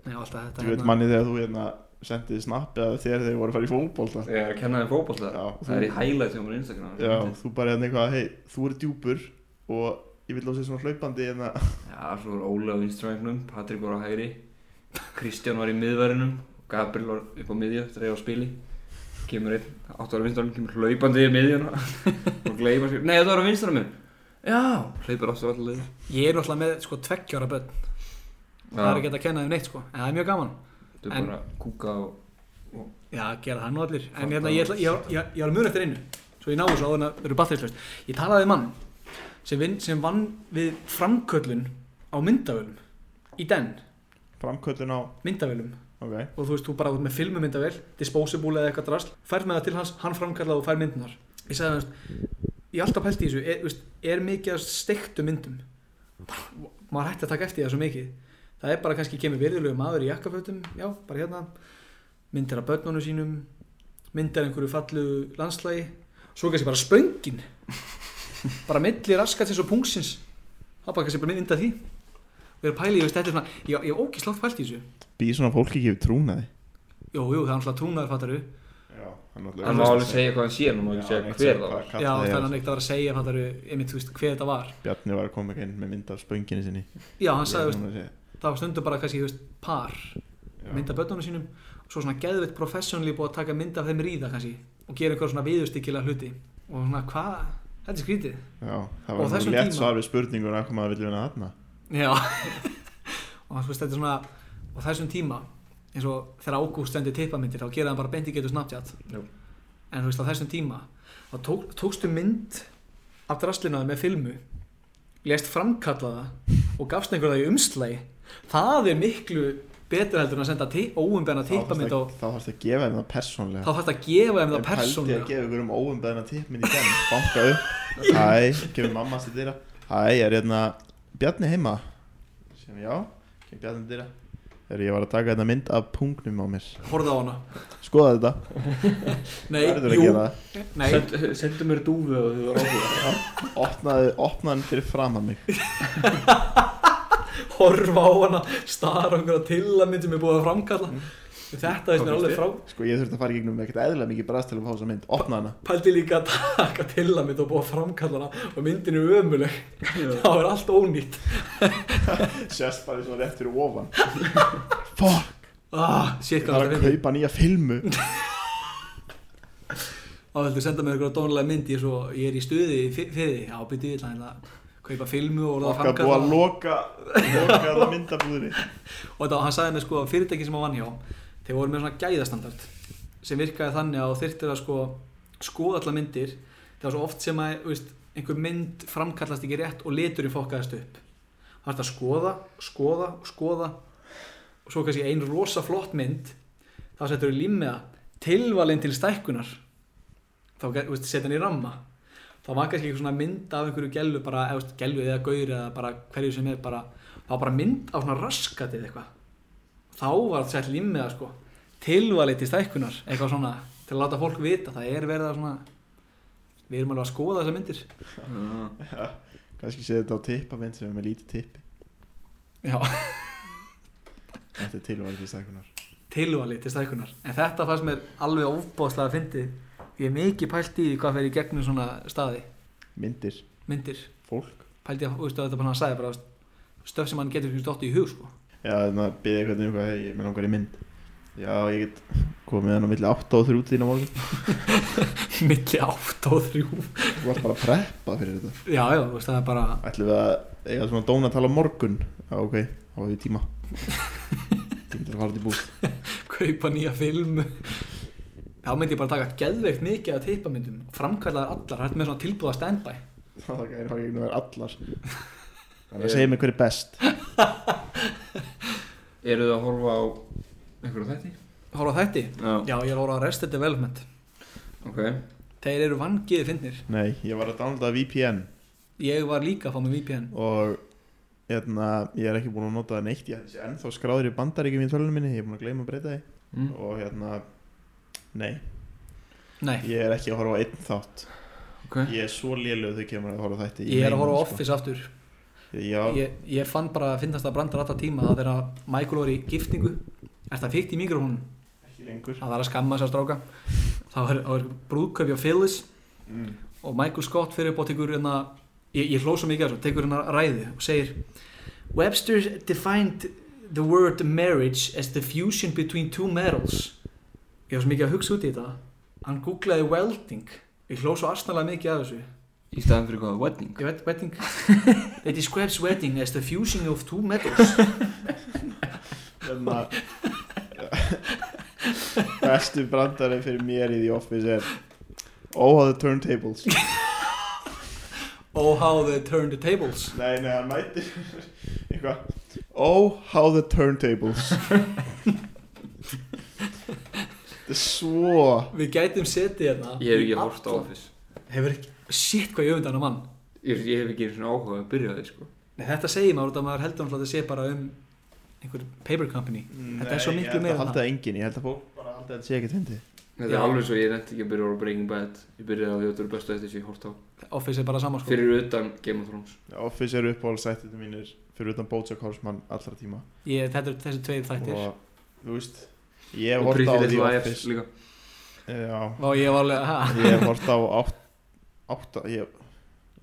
Speaker 1: Nei, alltaf þetta.
Speaker 2: Þú veit
Speaker 1: hérna-
Speaker 2: manni þegar þú hérna sendið snapp eða þér þegar þið voru að fara í fótbolta
Speaker 3: ég er að kenna þeim fótbolta
Speaker 2: Já,
Speaker 3: Það er í highlight hjá mér á Instagram
Speaker 2: Já, þú bara hérna eitthvað, hei, þú er djúpur og ég vil lósa svona hlaupandi hérna
Speaker 3: Já, svo var Óli á vinstræknum, Patrik var á hægri, Kristján var í miðværinum, Gabriel var upp á miðju, dreif á spili, kemur einn, áttu ára vinstræknum, kemur hlaupandi í miðjuna og gleymar sér, nei þetta var á vinstra minn, já, hlaupar áttu allir leiðir.
Speaker 1: Ég er náttúrulega með sko tveggjára börn, það er ekki hægt að kenna þeim neitt sko, en það er mjög gaman.
Speaker 3: Þú
Speaker 1: en-
Speaker 3: bara kúka og,
Speaker 1: Já, gera það nú allir, en hérna ég, ætla- ég, var- ég, ég var mjög eftir einu, svo ég náðu svo áður en að eru batterslöst. Ég talaði við mann sem, vin, sem vann við framköllun á myndavölum, í den,
Speaker 2: framköllun á,
Speaker 1: myndavölum.
Speaker 2: ok
Speaker 1: Og þú veist, þú bara út með filmumyndavél, disposable eða eitthvað drasl, færð með það til hans, hann framkallaði og fær myndunar. Ég sagði hann, þú veist, ég er alltaf pælt í þessu, er, þú veist, er mikið að stektu myndum? maður hætti að taka eftir það svo mikið það er bara kannski kemur virðulegu maður í jakkafötum já, bara hérna myndir af börnunum sínum myndir af einhverju fallu landslægi svo kannski bara spöngin bara milli raskat eins og pungsins það er bara kannski bara mynd af því og ég er pælið, ég veist, þetta er svona ég, ég er ógislátt pælt í þessu
Speaker 2: Býð svona fólk ekki yfir trúnaði
Speaker 1: jú, jú, það er alltaf trúnaður fattaru
Speaker 2: Já, hann náttúrulega-
Speaker 3: hann má alveg segja hvað hann sé, hann má ekki segja hver það var.
Speaker 2: hvað
Speaker 1: já,
Speaker 2: kallið
Speaker 1: þannig
Speaker 2: er.
Speaker 1: að hann ekkert að vera að segja fattaru einmitt, þú veist, hver þetta var
Speaker 2: Bjarni var að koma ekki inn með mynd af spönginni sinni
Speaker 1: já, hann sagði, þú veist,
Speaker 2: Ég er núna að segja.
Speaker 1: það var stundum bara kannski, þú veist, par
Speaker 2: Já.
Speaker 1: mynda börnunum sínum og svo svona geðveitt professionally búið að taka mynd af þeim ríða kannski og gera einhver svona viðustíkilega hluti og svona hvað, þetta er skrítið
Speaker 2: Já, það
Speaker 1: Og
Speaker 2: var nú
Speaker 1: þessum
Speaker 2: létt
Speaker 1: tíma-
Speaker 2: svar við spurningur að koma að vilja vinna þarna
Speaker 1: já og þú veist þetta er svona á þessum tíma eins og þegar Ágúst stendur tippamyndir þá gera hann bara beint í getur Snapchat
Speaker 3: Jú.
Speaker 1: en þú veist á þessum tíma þá tók, tókstu mynd af draslinaði með filmu lest framkallaða og gafst einhver það í umslagi það er miklu betur heldur en að senda óumbenna
Speaker 2: Þá þarfst
Speaker 1: tippamynd á
Speaker 2: að- þá þarfst að gefa þeim það persónlega
Speaker 1: þá þarf að gefa þeim
Speaker 2: En
Speaker 1: það
Speaker 2: pældi að
Speaker 1: persónulega
Speaker 2: gefa ykkur um óumbeðna tippminn í genn banka upp, hæ, kemur mamma sér dyra hæ, ég er hérna Bjarni heima sem já, kemur Bjarni dyra þegar ég var að taka þetta mynd af pungnum á mér
Speaker 1: horfða á hana
Speaker 2: skoða þetta,
Speaker 1: nei,
Speaker 2: verður að gera það
Speaker 1: nei,
Speaker 3: Send- Sendu mér dúfu og þú var áhuga.
Speaker 2: opnaði, opnaði hann fyrir fram að mig
Speaker 1: horfa á hana stara á einhverja tillamynd sem er búið að
Speaker 2: Mm.
Speaker 1: framkalla þetta veist mér alveg frá
Speaker 2: sko ég þurfti að fara í gegnum ekkert eðla mikið brast til að fá þessa mynd, opnaði hana
Speaker 1: pældi líka að taka tillamynd og búið að framkalla hana og myndin er ömuleg það er allt ónýtt
Speaker 2: sérst bara svona rétt fyrir ofan fuck,
Speaker 1: ah, shit,
Speaker 2: ég þarf
Speaker 1: hvað
Speaker 2: að
Speaker 1: þetta finnir
Speaker 2: kaupa nýja filmu
Speaker 1: þá viltu senda mér einhverja dónulega mynd ég, er svo, ég er í stuði fyrir því já, byrju, ég ætla að kaupa filmu og orða að
Speaker 2: okkar búið
Speaker 1: framkalla
Speaker 2: að
Speaker 1: hana.
Speaker 2: loka loka það myndabúðinni
Speaker 1: og þetta, hann sagði mér sko að fyrirtæki sem hann vann hjá þeir voru með svona gæðastandard sem virkaði þannig að þyrftir að sko skoða allar myndir það var svo oft sem að þú veist, einhver mynd framkallast ekki rétt og liturinn fokkaðast upp það var þetta að skoða, skoða, skoða og svo kannski ein rosa flott mynd þá settur við límiða tilvalinn til stækkunar þá get- þú veist, setja hann í ramma þá var kannski eitthvað svona mynd af einhverju gelvu bara, eða þú veist, gelvu eða gaur eða bara hverju sem er bara þá var bara mynd á svona raskatið eitthvað þá var sett limmiða sko tilvalið til stækkunar eitthvað svona til að láta fólk vita það er verið að svona við erum alveg að skoða þessar myndir
Speaker 3: Já.
Speaker 2: kannski sé þetta á tippamind sem er með lítið tippi
Speaker 1: já,
Speaker 2: þetta er tilvæg til stækunar
Speaker 1: tilvalið til stækkunar en þetta fannst mér alveg ofbóðslega að fyndi ég er mikið pælt í því hvað fer í gegnum svona staði
Speaker 2: myndir,
Speaker 1: myndir,
Speaker 2: fólk
Speaker 1: pælt ég að, þú veistu, þetta bara hann sagði bara, þú veist, stöf sem hann getur ekki stótt í hug sko.
Speaker 2: Já, þannig að byrja eitthvað um eitthvað, hei, ég með langar í mynd Já, ég get komið hann á milli 8 og 3 tína morgun
Speaker 1: milli 8 og 3
Speaker 2: Þú varst bara að preppa fyrir þetta
Speaker 1: já, já, þú veist, það er bara
Speaker 2: Ætlum við að eiga svona dóna að tala morgun Já, ok, þá var við tíma Tíma til að fara til búð
Speaker 1: kaupa nýja film þá myndi ég bara taka geðveikt mikið af teipamyndum framkallaðar allar, hægt með svona tilbúða standby
Speaker 2: Það er ekki einu verið allar Þannig að segja mig hver er best
Speaker 3: Eru þið að horfa á einhverju þætti?
Speaker 1: horfa á þætti,
Speaker 3: Já,
Speaker 1: já, ég er að horfa á Rested Development
Speaker 3: ok
Speaker 1: þeir eru vangiði finnir
Speaker 2: Nei, ég var að downloada VPN
Speaker 1: ég var líka að fá með VPN
Speaker 2: og hérna, ég er ekki búin að nota það neitt ég er ennþá skráður í bandaríkjum í tölunum minni ég er búin að gleyma að breyta því
Speaker 3: mm.
Speaker 2: og hérna, nei,
Speaker 1: nei,
Speaker 2: ég er ekki að horfa á einn þátt
Speaker 3: Ok
Speaker 2: ég er svo lélug þegar kemur að horfa á þætti
Speaker 1: ég er að horfa á
Speaker 2: meina,
Speaker 1: Office aftur
Speaker 2: sko. já,
Speaker 1: ég, ég fann bara að finnast að brandar alltaf tíma að þeirra Michael var í giftingu er það fíkt í mikrofónum
Speaker 2: ekki lengur
Speaker 1: það var að skamma þessar stráka þá er, þá er brúðkaupi á Phyllis
Speaker 2: mm.
Speaker 1: og Michael Scott fyrir upp og tekur hérna ég, ég hló svo mikið að þessu, tekur hérna ræðu og segir Webster defined the word marriage as the fusion between two metals ég var svo mikið að hugsa út í þetta hann googlaði welding ég hló svo arsnalega mikið að þessu
Speaker 3: Í staðan fyrir hvað, wedding
Speaker 1: Ég veit, wedding They describes wedding as the fusion of two metals
Speaker 2: hérna bestu brandari fyrir mér í The Office er Oh, how the turntables
Speaker 1: Oh how they turn the tables
Speaker 2: Nei, nei, hann mætir eitthvað Oh, how the turntables Þetta er svo
Speaker 1: Við gætum setið hérna
Speaker 3: Ég hef ekki horft á Office
Speaker 1: Hefur ekki Shit hvað ég öfund hann á mann
Speaker 3: Ég, ég hef ekki einu svona áhuga að byrja á því sko
Speaker 1: Nei, Þetta segir maður út að maður heldur hann að þetta sé bara um einhver paper company Þetta er svo miklu meira
Speaker 2: Ég held að
Speaker 1: en
Speaker 2: halda það engin, ég held að fólk bara halda að þetta sé ekkert hindi
Speaker 3: Þetta
Speaker 1: Já.
Speaker 3: er alveg svo ég nefndi ekki að byrja á Breaking Bad Ég byrjaði á því að þetta eru bestu þetta sem ég horft á
Speaker 1: Office er bara saman sko
Speaker 3: Fyrir utan Game of Thrones
Speaker 2: Office eru uppáhaldsættinu mínir fyrir utan Bojack Horseman allra tíma
Speaker 1: ég, Þetta er þessi tveir þættir
Speaker 2: og þú veist ég hef
Speaker 3: Og
Speaker 2: hort á
Speaker 3: Pretty
Speaker 2: The
Speaker 3: Little Liars
Speaker 2: Office
Speaker 3: líka
Speaker 2: Já,
Speaker 1: Og ég var alveg ha,
Speaker 2: ég hef hort á átt, átta, ég,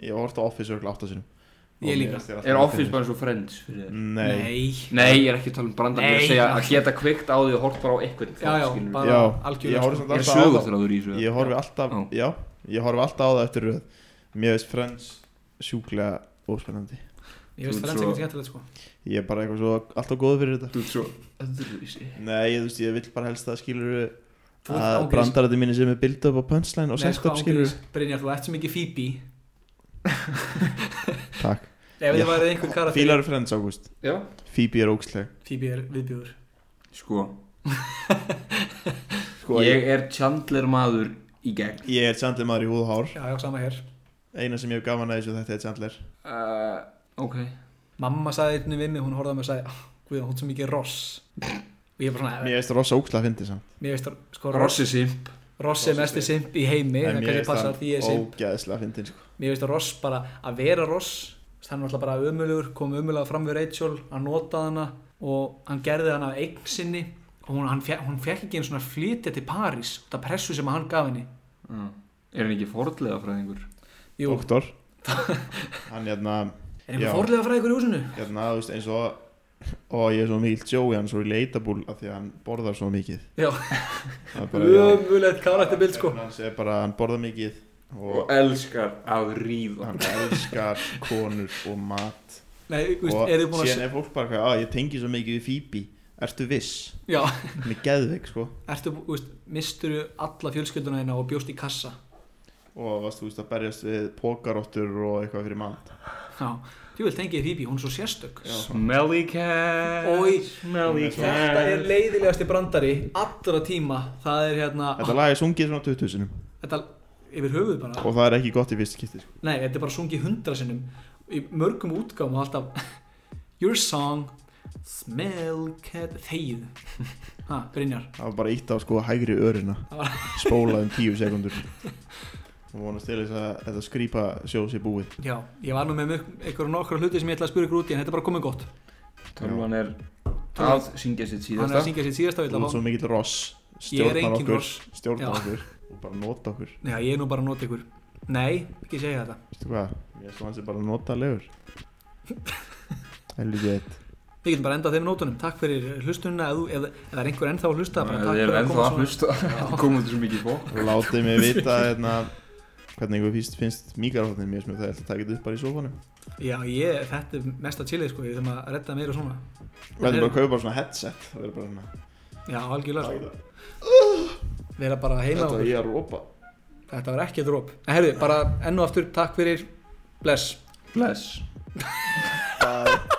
Speaker 2: ég hef hort á Office örgulega áttasunum
Speaker 1: Ég líka.
Speaker 3: Er Office bara eins og Friends fyrir þér?
Speaker 2: Nei,
Speaker 1: Nei
Speaker 3: Nei, ég er ekki að tala um brandan Ég er
Speaker 1: Nei.
Speaker 3: að segja að geta kveikt á því að horfa bara á eitthvað
Speaker 1: Já já bara
Speaker 2: Já, ég
Speaker 1: algjörlega
Speaker 2: horfði
Speaker 1: sko.
Speaker 3: Er
Speaker 2: samt alltaf á það
Speaker 3: sögurþráður í þessu
Speaker 2: ég horfi alltaf
Speaker 3: Já.
Speaker 2: já, ég horfi alltaf á það eftir röð mér veist Friends sjúklega óspennandi
Speaker 1: Ég veist fyrir
Speaker 3: Þú ert svo-
Speaker 1: hans ekki skemmtilegt sko
Speaker 2: ég er bara eitthvað svo alltaf góð fyrir þetta
Speaker 3: Þú ert svo öðruvísi
Speaker 2: nei, ég, þú veist, ég vil bara helst að skilur
Speaker 1: Þú ert
Speaker 2: að
Speaker 1: ángriðis.
Speaker 2: brandarandi mínir sem er build up á punchline og
Speaker 1: Nei,
Speaker 2: set
Speaker 1: sko,
Speaker 2: up skilur
Speaker 1: ángriðis. Brynjar þú ert sem ekki Phoebe
Speaker 2: takk,
Speaker 1: Ef
Speaker 2: Já.
Speaker 1: þið værið einhver karakter
Speaker 2: fílar Friends ágúst
Speaker 3: Já
Speaker 2: Phoebe er óksleg
Speaker 1: Phoebe er viðbjóður
Speaker 3: Sko,
Speaker 2: sko, ég,
Speaker 3: ég er Chandler maður í gegn
Speaker 2: ég er Chandler maður í húð og hár
Speaker 1: Já, já, sama hér
Speaker 2: eina sem ég hef gaman að þessu þetta er Chandler
Speaker 3: uh, Ok
Speaker 1: Mamma sagði einnig við mig, hún horfði á mig og sagði Guðjón, hún er svo mikið ross Og ég bara svona,
Speaker 2: mér veist Ross ókslega að fyndi samt
Speaker 1: mér veist að, sko, ross
Speaker 3: Rossi simp
Speaker 1: Ross er mesti simp í heimi Það
Speaker 2: En mér
Speaker 1: kannski
Speaker 2: finnst
Speaker 1: passa
Speaker 2: hann
Speaker 1: því ég er simp
Speaker 2: ógeðslega að fyndi sko.
Speaker 1: Mér veist að ross bara, að vera ross þú veist, Hann var alltaf bara ömulugur, kom ömulega fram við Rachel Hann notaði hana Og hann gerði hana að eign sinni Og hún, hann, fe- hún fekk ekki einu svona flytja til París Það pressu sem hann gaf henni
Speaker 3: uh, Er hann ekki fordlega fræðingur?
Speaker 1: Jú,
Speaker 2: doktor hann hérna
Speaker 1: er einhver
Speaker 2: já.
Speaker 1: fórlega frægur í húsinu?
Speaker 2: hérna, þú veist, eins og og ég er svo mikil Joey, hann er svo relatable af því að hann borðar svo mikið
Speaker 1: Já,
Speaker 2: Það er bara- já,
Speaker 1: ömulegt karakterbild sko
Speaker 2: hann er bara, hann borðar mikið og
Speaker 3: Og elskar að ríða
Speaker 2: hann elskar konur og mat
Speaker 1: Nei, þú veist,
Speaker 2: og
Speaker 1: er þið búin að
Speaker 2: síðan er fólk bara hvað, að ég tengi svo mikið við Phoebe ertu viss,
Speaker 1: Já,
Speaker 2: hann er geðveik sko
Speaker 1: ertu, þú veist, misturu alla fjölskylduna þína og bjóst í kassa
Speaker 2: og varst þú veist að berjast við pókaróttur og eitthvað fyrir mat
Speaker 1: Já, þú vil tengið Phoebe, hún er svo sérstök
Speaker 3: Smelly cat
Speaker 1: Oj.
Speaker 3: Smelly cat
Speaker 1: Þetta er leiðilegasti brandari allra tíma, það er hérna
Speaker 2: þetta lag er sungið svona 20 sinum
Speaker 1: Þetta yfir höfuð bara
Speaker 2: og það er ekki gott í fyrst kitti sko.
Speaker 1: Nei, þetta er bara sungið hundra sinnum í mörgum útgáfum og alltaf Your song Smell cat Þegið Ha, Brynjar
Speaker 2: það var bara ítt á sko hægri örina
Speaker 1: Það var-
Speaker 2: spólað um 10 sekundur og vonast til þess að þetta skrýpa sjóð sé búið
Speaker 1: Já, ég var nú með mjög- einhverja nokkra hluti sem ég ætla að spyrja ykkur út í en þetta er bara komið gott
Speaker 3: Tölvan er
Speaker 1: Tölvan-
Speaker 3: að syngja sitt
Speaker 1: Hann er
Speaker 3: síðasta
Speaker 1: að syngja sitt síðasta
Speaker 2: Þú
Speaker 1: vilja
Speaker 2: ert svo mikill ross
Speaker 1: Ég er
Speaker 2: Stjórnar
Speaker 1: engin
Speaker 2: okkur,
Speaker 1: ross
Speaker 2: stjórnar
Speaker 1: Já.
Speaker 2: okkur Og bara nota okkur
Speaker 1: Já, ég er nú bara að nota ykkur Nei, ekki segja þetta
Speaker 2: Veistu hvað, mér finnst þú hans er bara notalegur Helviti eitt
Speaker 1: Við getum bara endað þeim nótunum, takk fyrir hlustunina ef, þú- ef, ef það er einhver ennþá að hlusta bara takk
Speaker 3: Þannig að ég
Speaker 1: fyrir
Speaker 3: er
Speaker 1: að
Speaker 3: ennþá
Speaker 1: koma
Speaker 3: að
Speaker 1: svona.
Speaker 3: hlusta komum þessu mikið bók
Speaker 2: Látið mig vita hérna, hvernig ykkur finnst, finnst mikrofónin mér sem það er að taka þetta upp bara í sófanum
Speaker 1: Já, ég, þetta er mesta chillið sko, ég þarf að redda meira svona
Speaker 2: Þetta er bara að kaupa bara svona headset Það er bara svona
Speaker 1: Já, algjörlega sko, vera bara heima
Speaker 2: Þetta
Speaker 1: og
Speaker 2: var ég að rópa
Speaker 1: þetta var ekki dróp En herðu, bara enn og aftur, takk fyrir, bless
Speaker 3: Bless
Speaker 2: Bye